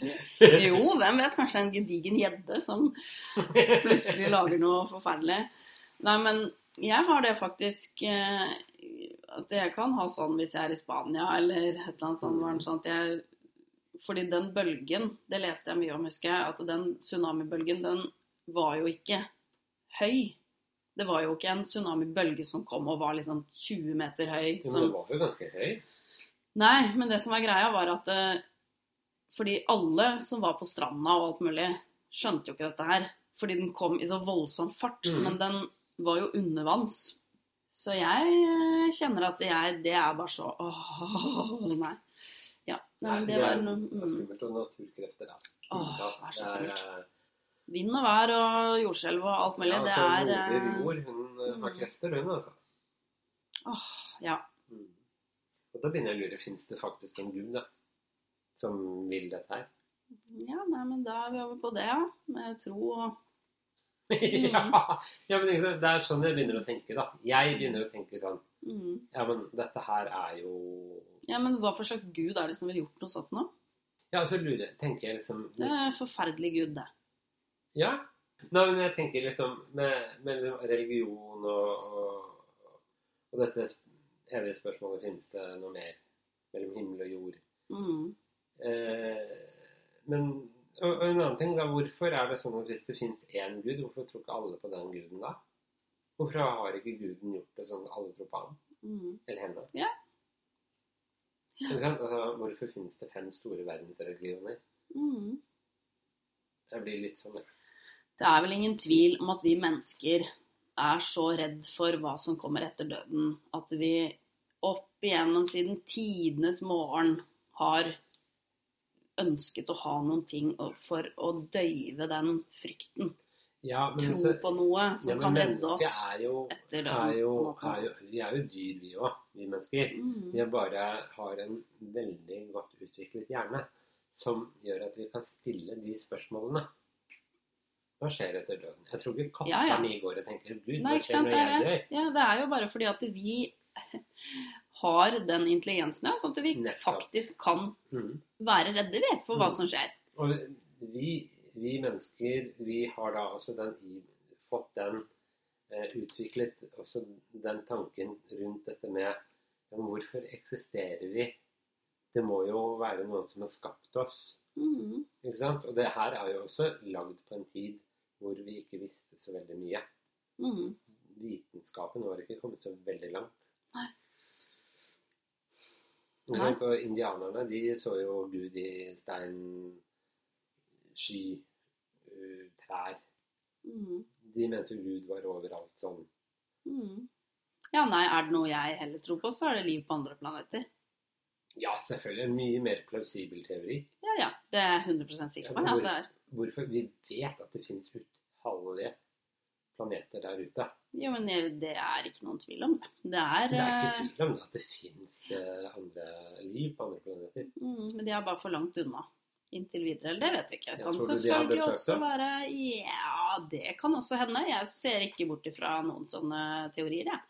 [SPEAKER 1] nei. det- Jo, hvem vet? Kanskje en gedigen gjedde som plutselig lager noe forferdelig. Nei, men jeg har det faktisk eh, At jeg kan ha sånn hvis jeg er i Spania eller et eller annet sånt. varmt, Sånn at jeg, fordi den bølgen, det leste jeg mye om, husker jeg, at den tsunamibølgen, den var jo ikke høy. Det var jo ikke en tsunamibølge som kom og var liksom 20 meter høy.
[SPEAKER 2] Jo, Men
[SPEAKER 1] Som,
[SPEAKER 2] det var jo ganske høy.
[SPEAKER 1] Nei, men det som var greia var at eh, Fordi alle som var på stranda og alt mulig, skjønte jo ikke dette her. Fordi den kom i så voldsom fart.
[SPEAKER 2] Mm.
[SPEAKER 1] Men den var jo undervanns. Så jeg eh, kjenner at jeg Det er bare så Åh, nei. Ja. Nei, men det var noe
[SPEAKER 2] Det er altså-
[SPEAKER 1] mm,
[SPEAKER 2] skummelt, og naturkrefter er skummelt.
[SPEAKER 1] Åh, det er
[SPEAKER 2] altså.
[SPEAKER 1] så
[SPEAKER 2] Det er,
[SPEAKER 1] skummelt.
[SPEAKER 2] eh,
[SPEAKER 1] Vind og vær og jordskjelv og alt mulig.
[SPEAKER 2] ja,
[SPEAKER 1] det
[SPEAKER 2] altså,
[SPEAKER 1] er
[SPEAKER 2] moder
[SPEAKER 1] eh,
[SPEAKER 2] jord, hun eh, har
[SPEAKER 1] mm.
[SPEAKER 2] krefter, hun, altså.
[SPEAKER 1] Åh, ja.
[SPEAKER 2] Mm. Og da begynner jeg å lure, fins det faktisk en gud, da? Som vil dette her?
[SPEAKER 1] ja, nei, men da er vi over på det, ja. Med tro og Mm.
[SPEAKER 2] ja, ja, men ikke sant, det er sånn jeg begynner å tenke, da. Jeg begynner å tenke sånn
[SPEAKER 1] mm.
[SPEAKER 2] Ja, men dette her er jo
[SPEAKER 1] Ja, men hva for slags gud er det som ville gjort noe sånt nå?
[SPEAKER 2] Ja, så lurer jeg Tenker jeg liksom
[SPEAKER 1] Det er en forferdelig gud, det.
[SPEAKER 2] Ja. Nei, men jeg tenker liksom med, med liksom religion og, og, og dette evige spørsmålet finnes det noe mer mellom himmel og jord.
[SPEAKER 1] Mm.
[SPEAKER 2] Eh, men og, og en annen ting da, hvorfor er det sånn at hvis det finnes én gud, hvorfor tror ikke alle på den guden da? Hvorfor har ikke guden gjort det sånn at alle tror på han
[SPEAKER 1] Mm.
[SPEAKER 2] eller henne?
[SPEAKER 1] Ja.
[SPEAKER 2] Ikke sant? Altså, hvorfor finnes det fem store verdensreligioner?
[SPEAKER 1] Mm.
[SPEAKER 2] Jeg blir litt sånn
[SPEAKER 1] Det er vel ingen tvil om at vi mennesker er så redd for hva som kommer etter døden, at vi opp igjennom siden tidenes morgen har ønsket å ha noen ting å- for å døyve den frykten.
[SPEAKER 2] ja, men,
[SPEAKER 1] Tro
[SPEAKER 2] så,
[SPEAKER 1] på noe som
[SPEAKER 2] ja, men
[SPEAKER 1] kan redde
[SPEAKER 2] mennesket
[SPEAKER 1] oss
[SPEAKER 2] er jo
[SPEAKER 1] etter
[SPEAKER 2] er jo,
[SPEAKER 1] døden.
[SPEAKER 2] er jo, vi er jo dyr, vi òg, vi mennesker.
[SPEAKER 1] Mm.
[SPEAKER 2] Vi er bare har en veldig godt utviklet hjerne som gjør at vi kan stille de spørsmålene. Hva skjer etter døden? Jeg tror ikke katta
[SPEAKER 1] Ja, ja.
[SPEAKER 2] mi går og tenker Gud,
[SPEAKER 1] Nei,
[SPEAKER 2] hva
[SPEAKER 1] ikke
[SPEAKER 2] skjer
[SPEAKER 1] sant,
[SPEAKER 2] når
[SPEAKER 1] det
[SPEAKER 2] jeg
[SPEAKER 1] er det.
[SPEAKER 2] dør?
[SPEAKER 1] Ja, det er jo bare fordi at vi har den intelligensen, ja, sånn at vi
[SPEAKER 2] Nettopp.
[SPEAKER 1] faktisk kan
[SPEAKER 2] Mm.
[SPEAKER 1] være redde vi for hva
[SPEAKER 2] Mm.
[SPEAKER 1] som skjer.
[SPEAKER 2] Og vi, vi mennesker, vi har da også den, i- fått den eh, utviklet også den tanken rundt dette med ja, men hvorfor eksisterer vi? Det må jo være noen som har skapt oss.
[SPEAKER 1] Mm.
[SPEAKER 2] Ikke sant? Og det her er jo også lagd på en tid hvor vi ikke visste så veldig mye.
[SPEAKER 1] Mm.
[SPEAKER 2] Vitenskapen var ikke kommet så veldig langt.
[SPEAKER 1] Nei.
[SPEAKER 2] Ikke sant? Og indianerne de så jo Gud i stein, sky, uh, trær.
[SPEAKER 1] Mm.
[SPEAKER 2] De mente jo Gud var overalt sånn.
[SPEAKER 1] Mm. Ja, nei, er det noe jeg heller tror på, så er det liv på andre planeter.
[SPEAKER 2] Ja, selvfølgelig. En mye mer plausibel teori.
[SPEAKER 1] Ja, ja. Det er jeg 100 sikker på. Ja, det er.
[SPEAKER 2] Hvorfor? Vi vet at det fins utallige planeter der ute.
[SPEAKER 1] Jo, men jeg- det er ikke noen tvil om det. Det er,
[SPEAKER 2] Det er
[SPEAKER 1] eh,
[SPEAKER 2] ikke tvil om det at det fins andre liv på andre planeter.
[SPEAKER 1] mm, Men de er bare for langt unna inntil videre. Eller det vet vi ikke. Det
[SPEAKER 2] Ja,
[SPEAKER 1] kan
[SPEAKER 2] tror du de har
[SPEAKER 1] selvfølgelig
[SPEAKER 2] besøkt
[SPEAKER 1] også
[SPEAKER 2] dem?
[SPEAKER 1] være Ja, det kan også hende. Jeg ser ikke bort ifra noen sånne teorier, jeg.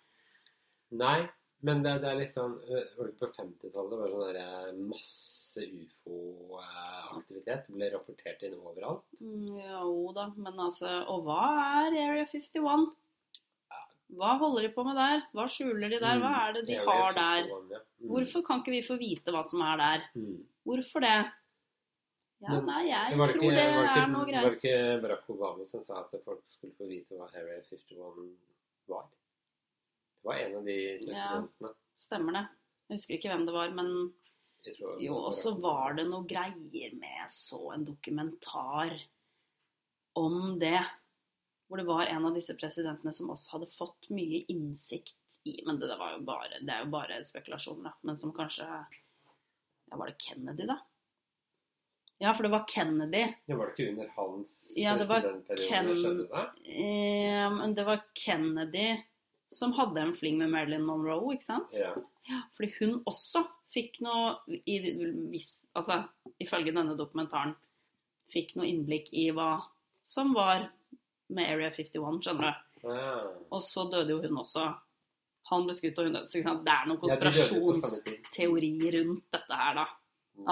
[SPEAKER 2] Nei, Men det, det er litt sånn øh, var det På 50-tallet var det sånn der eh, masse ufo-aktivitet. Ble rapportert innom overalt.
[SPEAKER 1] Mm, Jo da, men altså Og hva er Area 51? Hva holder de på med der? Hva skjuler de der? Hva er det de
[SPEAKER 2] Mm.
[SPEAKER 1] har der?
[SPEAKER 2] Ja. Mm.
[SPEAKER 1] Hvorfor kan ikke vi få vite hva som er der?
[SPEAKER 2] Mm.
[SPEAKER 1] Hvorfor det? Ja,
[SPEAKER 2] Men
[SPEAKER 1] nei, jeg
[SPEAKER 2] Var det
[SPEAKER 1] tror det
[SPEAKER 2] var det
[SPEAKER 1] er noe
[SPEAKER 2] Var
[SPEAKER 1] greier.
[SPEAKER 2] det ikke Barack Obama som sa at folk skulle få vite hva Area 51 var? Det var en av de presidentene.
[SPEAKER 1] Stemmer det. Jeg husker ikke hvem det var, men
[SPEAKER 2] Jeg tror det
[SPEAKER 1] jo,
[SPEAKER 2] var
[SPEAKER 1] og så
[SPEAKER 2] Barack Obama.
[SPEAKER 1] var det noe greier med Jeg så en dokumentar om det. Hvor det var en av disse presidentene som også hadde fått mye innsikt i Men det, der var jo bare, det er jo bare spekulasjoner, da. Men som kanskje Ja, var det Kennedy, da? Ja, for det var Kennedy.
[SPEAKER 2] Ja, var det ikke under hans
[SPEAKER 1] Ja, det var
[SPEAKER 2] presidentperiode
[SPEAKER 1] Ken-
[SPEAKER 2] det skjedde det?
[SPEAKER 1] Eh, men det var Kennedy som hadde en fling med Marilyn Monroe, ikke sant?
[SPEAKER 2] Ja.
[SPEAKER 1] Fordi hun også fikk noe i, hvis, Altså, ifølge denne dokumentaren fikk noe innblikk i hva som var med Area 51, skjønner du.
[SPEAKER 2] Ah.
[SPEAKER 1] Og så døde jo hun også. Han ble skutt, og hun døde. Så ikke sant? det er noen
[SPEAKER 2] Ja, de døde på samme tid.
[SPEAKER 1] konspirasjonsteori rundt dette her, da.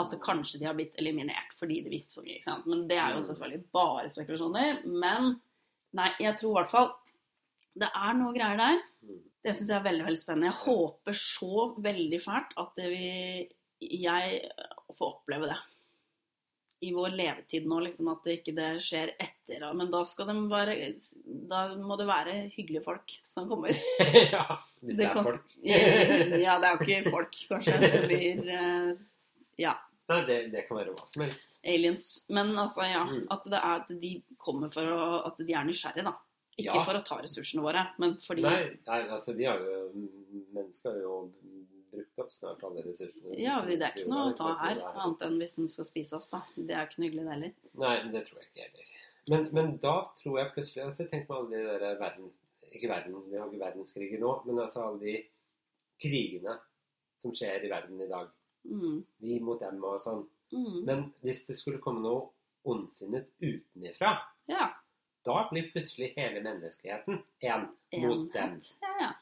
[SPEAKER 1] At kanskje de har blitt eliminert fordi de visste for mye. ikke sant? Men det er jo
[SPEAKER 2] Mm.
[SPEAKER 1] selvfølgelig bare spekulasjoner. Men nei, jeg tror i hvert fall det er noe greier der.
[SPEAKER 2] Mm.
[SPEAKER 1] Det syns jeg er veldig veldig spennende. Jeg håper så veldig fælt at vi, jeg får oppleve det. I vår levetid nå, liksom, at det ikke det skjer etter. Men da, skal de være, da må det være hyggelige folk som kommer.
[SPEAKER 2] ja, hvis det,
[SPEAKER 1] Det
[SPEAKER 2] er
[SPEAKER 1] kan-
[SPEAKER 2] folk.
[SPEAKER 1] Ja, det er jo ikke folk, kanskje. Det blir eh, ja,
[SPEAKER 2] Nei, det, det kan være hva som helst.
[SPEAKER 1] aliens. Men altså, ja.
[SPEAKER 2] Mm.
[SPEAKER 1] At, det er, at de kommer for å At de er nysgjerrige, da. Ikke
[SPEAKER 2] Ja.
[SPEAKER 1] for å ta ressursene våre, men fordi
[SPEAKER 2] Nei, nei, altså vi har jo Mennesker har jo brukt opp snart alle ressursene.
[SPEAKER 1] Ja, vi- det er ikke noe å ta her,
[SPEAKER 2] Det er-
[SPEAKER 1] annet enn hvis de skal spise oss, da. Det er ikke noe hyggelig, det heller.
[SPEAKER 2] Nei, men det tror jeg ikke heller. Men, men da tror jeg plutselig altså, Tenk på alle de der verden, Ikke verden, vi har ikke verdenskriger nå, men altså alle de krigene som skjer i verden i dag.
[SPEAKER 1] Mm.
[SPEAKER 2] Vi mot dem og sånn.
[SPEAKER 1] Mm.
[SPEAKER 2] Men hvis det skulle komme noe ondsinnet utenifra,
[SPEAKER 1] Ja.
[SPEAKER 2] da blir plutselig hele menneskeheten én mot dem.
[SPEAKER 1] Enhet. Ja, ja.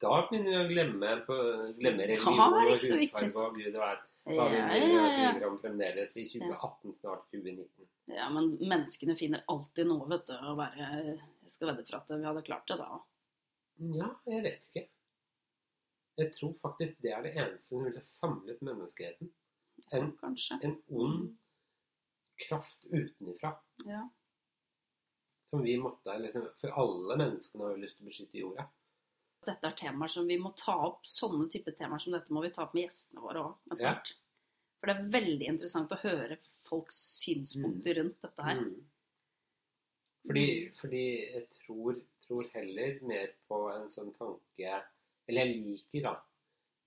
[SPEAKER 2] Da begynner vi å glemme, på, glemme
[SPEAKER 1] Da er det
[SPEAKER 2] religion og
[SPEAKER 1] ikke så viktig.
[SPEAKER 2] hudfarge og gud og vær. Da
[SPEAKER 1] Ja,
[SPEAKER 2] begynner vi
[SPEAKER 1] ja,
[SPEAKER 2] å
[SPEAKER 1] ja.
[SPEAKER 2] krige om fremdeles i 2018, snart 2019.
[SPEAKER 1] ja, men menneskene finner alltid noe, vet du, å være Jeg skal vedde for at vi hadde klart det da òg.
[SPEAKER 2] Ja, jeg vet ikke. Jeg tror faktisk det er det eneste som ville samlet menneskeheten. En,
[SPEAKER 1] Kanskje.
[SPEAKER 2] en ond kraft utenifra.
[SPEAKER 1] Ja.
[SPEAKER 2] Som vi måtte liksom For alle menneskene har jo lyst til å beskytte jorda.
[SPEAKER 1] dette er temaer som vi må ta opp. Sånne type temaer som dette må vi ta opp med gjestene våre òg.
[SPEAKER 2] Ja.
[SPEAKER 1] For det er veldig interessant å høre folks synspunkter rundt dette her. Mm.
[SPEAKER 2] Mm. Fordi, fordi jeg tror, tror heller mer på en sånn tanke Eller jeg liker da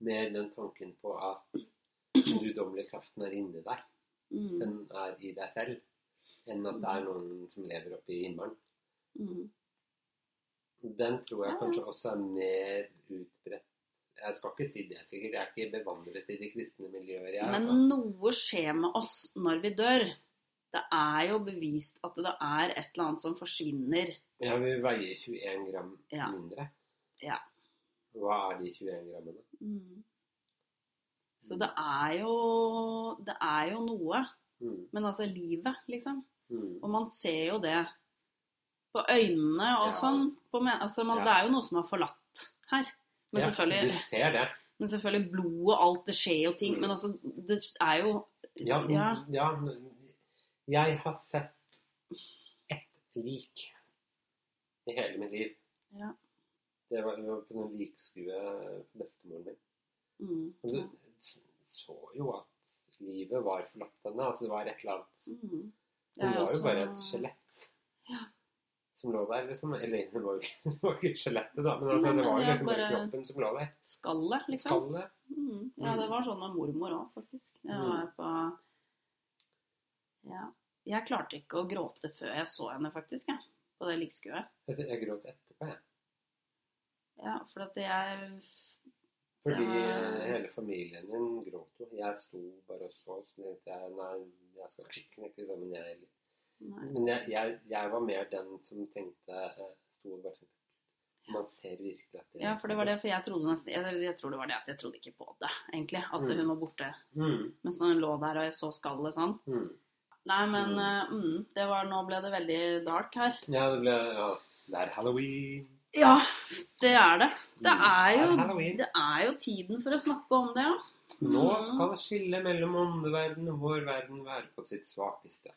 [SPEAKER 2] mer den tanken på at den guddommelige kraften er inni deg.
[SPEAKER 1] Mm,
[SPEAKER 2] Den er i deg selv. Enn at det er noen som lever oppe i himmelen.
[SPEAKER 1] mm,
[SPEAKER 2] Den tror jeg
[SPEAKER 1] Ja.
[SPEAKER 2] kanskje også er mer utbredt. Jeg skal ikke si det sikkert. Jeg er ikke bevandret i de kristne miljøer. Jeg,
[SPEAKER 1] Men
[SPEAKER 2] altså.
[SPEAKER 1] noe skjer med oss når vi dør. Det er jo bevist at det er et eller annet som forsvinner.
[SPEAKER 2] ja, vi veier 21 gram
[SPEAKER 1] Ja.
[SPEAKER 2] mindre.
[SPEAKER 1] Ja.
[SPEAKER 2] Hva er de 21 grammene?
[SPEAKER 1] Mm. Så det er jo Det er jo noe.
[SPEAKER 2] Mm.
[SPEAKER 1] Men altså livet, liksom.
[SPEAKER 2] Mm.
[SPEAKER 1] Og man ser jo det på øynene og
[SPEAKER 2] Ja.
[SPEAKER 1] sånn. På men altså, man,
[SPEAKER 2] Ja.
[SPEAKER 1] Det er jo noe som har forlatt her. Men,
[SPEAKER 2] Ja, Du
[SPEAKER 1] selvfølgelig,
[SPEAKER 2] ser det.
[SPEAKER 1] men selvfølgelig blod og alt, det skjer jo ting.
[SPEAKER 2] Mm.
[SPEAKER 1] Men altså, det er jo
[SPEAKER 2] Ja, men-
[SPEAKER 1] Ja.
[SPEAKER 2] ja. men Jeg har sett ett lik i hele mitt liv.
[SPEAKER 1] Ja.
[SPEAKER 2] Det var, det var på den likskue på bestemoren min.
[SPEAKER 1] mm,
[SPEAKER 2] Og du så jo at livet var forlatt henne. Altså det var et eller annet
[SPEAKER 1] mm.
[SPEAKER 2] Hun
[SPEAKER 1] Jeg er
[SPEAKER 2] var jo
[SPEAKER 1] også-
[SPEAKER 2] bare et skjelett som lå der, liksom. Eller hun var jo ikke, hun var ikke skjelettet, da, men altså,
[SPEAKER 1] Nei, men
[SPEAKER 2] det var
[SPEAKER 1] det
[SPEAKER 2] jo
[SPEAKER 1] er
[SPEAKER 2] liksom bare
[SPEAKER 1] bare-
[SPEAKER 2] kroppen som lå der.
[SPEAKER 1] Skallet, liksom.
[SPEAKER 2] Skallet.
[SPEAKER 1] Mm. Ja,
[SPEAKER 2] Mm.
[SPEAKER 1] det var sånn med mormor òg, faktisk. Jeg
[SPEAKER 2] Mm.
[SPEAKER 1] var på Ja. Jeg klarte ikke å gråte før jeg så henne, faktisk, jeg. På det likskuet.
[SPEAKER 2] Jeg, jeg gråt etterpå, jeg.
[SPEAKER 1] Ja, for at jeg
[SPEAKER 2] Fordi
[SPEAKER 1] Ja.
[SPEAKER 2] eh, hele familien min gråt jo. Jeg sto bare og så, så tenkte jeg nei, jeg skal ikke knekke sammen, jeg heller.
[SPEAKER 1] Nei.
[SPEAKER 2] Men jeg, jeg, jeg var mer den som tenkte eh, sto og bare tenkte Man ser virkelig at det
[SPEAKER 1] Ja, for det var det, for jeg trodde nesten jeg, jeg tror det var det at jeg trodde ikke på det, egentlig. At
[SPEAKER 2] Mm.
[SPEAKER 1] hun var borte.
[SPEAKER 2] Mm,
[SPEAKER 1] Mens når hun lå der og jeg så skallet sånn.
[SPEAKER 2] mm.
[SPEAKER 1] Nei, men
[SPEAKER 2] Mm.
[SPEAKER 1] eh, mm, det var, nå ble det veldig dark her.
[SPEAKER 2] Ja, det ble ja, Det er halloween.
[SPEAKER 1] Ja, det er det. Det
[SPEAKER 2] Mm,
[SPEAKER 1] er jo,
[SPEAKER 2] halloween.
[SPEAKER 1] det er jo tiden for å snakke om det, ja.
[SPEAKER 2] Nå skal skillet mellom åndeverden og vår verden være på sitt svakeste.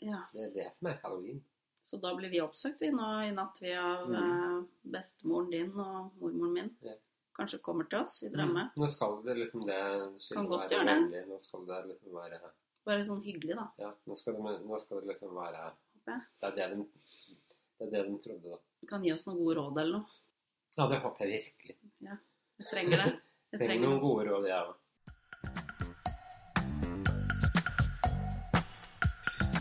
[SPEAKER 1] ja.
[SPEAKER 2] Det er det som er halloween.
[SPEAKER 1] Så da blir vi oppsøkt vi nå i natt vi av
[SPEAKER 2] Mm.
[SPEAKER 1] eh, bestemoren din og mormoren min.
[SPEAKER 2] Ja.
[SPEAKER 1] Kanskje kommer til oss i drømme.
[SPEAKER 2] Nå skal det liksom det
[SPEAKER 1] Kan
[SPEAKER 2] skillet
[SPEAKER 1] godt
[SPEAKER 2] være
[SPEAKER 1] gjøre det.
[SPEAKER 2] vennlig. Nå skal det liksom være
[SPEAKER 1] Bare sånn hyggelig, da.
[SPEAKER 2] Ja, nå skal det, nå skal det liksom være
[SPEAKER 1] Håper jeg.
[SPEAKER 2] Det er det de, det er det de trodde, da.
[SPEAKER 1] Kan gi oss noen gode råd eller noe.
[SPEAKER 2] Ja, det håper jeg virkelig.
[SPEAKER 1] Jeg trenger det. Jeg
[SPEAKER 2] Trenger
[SPEAKER 1] trenger
[SPEAKER 2] noen gode råd, jeg òg.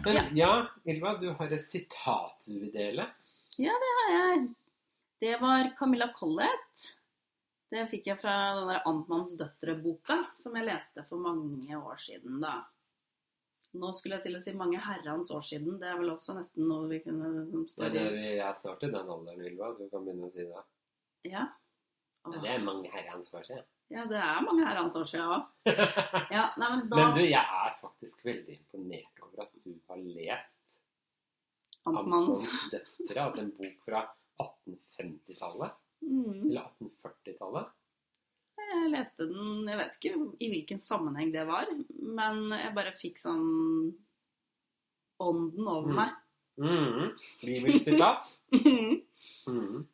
[SPEAKER 2] Men ja.
[SPEAKER 1] Ja.
[SPEAKER 2] Ylva, du har et sitat du vil dele.
[SPEAKER 1] jeg. Det var Camilla Collett. Det fikk jeg fra den der Amtmanns døtre-boka, som jeg leste for mange år siden, da. Nå skulle jeg til å si mange herrens år siden. Det er vel også nesten noe vi kunne som står i
[SPEAKER 2] Det er det vi, jeg er snart i den alderen, Ylva. Du kan begynne å si det.
[SPEAKER 1] Ja.
[SPEAKER 2] Men det er mange herrens år siden.
[SPEAKER 1] ja, det er mange herrens år siden òg. Ja, nei, men da
[SPEAKER 2] Men du, jeg er faktisk veldig imponert over at du har lest
[SPEAKER 1] Amtmanns
[SPEAKER 2] Amtmannens døtre, altså en bok fra 1850-tallet.
[SPEAKER 1] mm,
[SPEAKER 2] Eller 1840-tallet.
[SPEAKER 1] Jeg leste den Jeg vet ikke i hvilken sammenheng det var, men jeg bare fikk sånn ånden over
[SPEAKER 2] Mm.
[SPEAKER 1] meg.
[SPEAKER 2] Mhm. Bibelsitat.
[SPEAKER 1] Mm.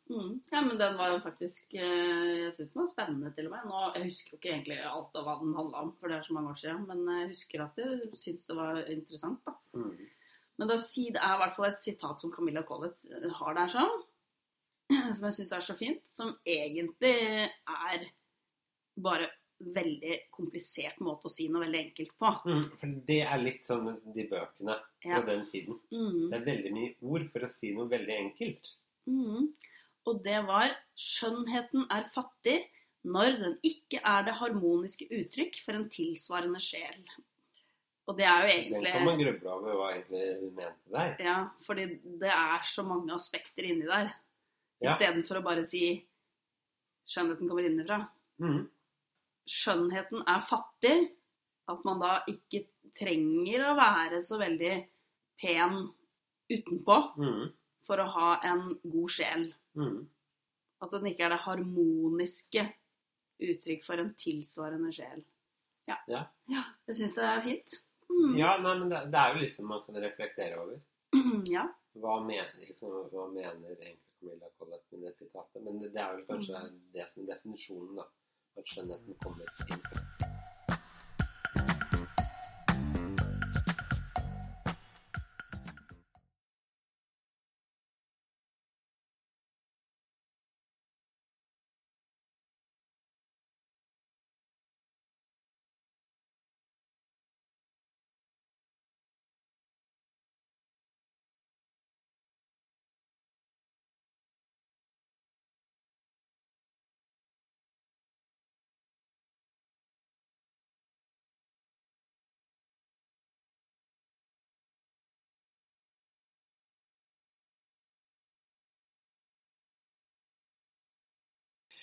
[SPEAKER 2] Mhm.
[SPEAKER 1] Ja, men den var jo faktisk eh, Jeg syns den var spennende, til og med. Nå, jeg husker jo ikke egentlig alt av hva den handla om, for det er så mange år siden, men jeg husker at jeg syns det var interessant, da.
[SPEAKER 2] Mhm.
[SPEAKER 1] Men da, si- det er i hvert fall et sitat som Camilla Collett har der sånn, som jeg syns er så fint, som egentlig er bare veldig komplisert måte å si noe veldig enkelt på.
[SPEAKER 2] Mm, for det er litt sånn med de bøkene fra
[SPEAKER 1] Ja.
[SPEAKER 2] den tiden.
[SPEAKER 1] Mm.
[SPEAKER 2] Det er veldig mye ord for å si noe veldig enkelt.
[SPEAKER 1] Mm. Og det var 'Skjønnheten er fattig når den ikke er det harmoniske uttrykk for en tilsvarende sjel'. Og det er jo
[SPEAKER 2] Den kan man
[SPEAKER 1] egentlig
[SPEAKER 2] gruble over hva egentlig hun mente der.
[SPEAKER 1] Ja, fordi det er så mange aspekter inni der.
[SPEAKER 2] Ja.
[SPEAKER 1] Istedenfor å bare si 'skjønnheten kommer innenfra'.
[SPEAKER 2] Mm.
[SPEAKER 1] Skjønnheten er fattig. At man da ikke trenger å være så veldig pen utenpå
[SPEAKER 2] Mm.
[SPEAKER 1] for å ha en god sjel.
[SPEAKER 2] Mm.
[SPEAKER 1] At den ikke er det harmoniske uttrykk for en tilsvarende sjel. Ja.
[SPEAKER 2] Ja.
[SPEAKER 1] jeg syns det er fint. Mm.
[SPEAKER 2] Ja, nei, men det, det er jo liksom man kan reflektere over.
[SPEAKER 1] ja.
[SPEAKER 2] Hva mener, liksom, hva mener egentlig Camilla Collett med det
[SPEAKER 1] Mm.
[SPEAKER 2] sitatet? Men det, det er vel kanskje det som er definisjonen, da. At skjønnheten kommer inn.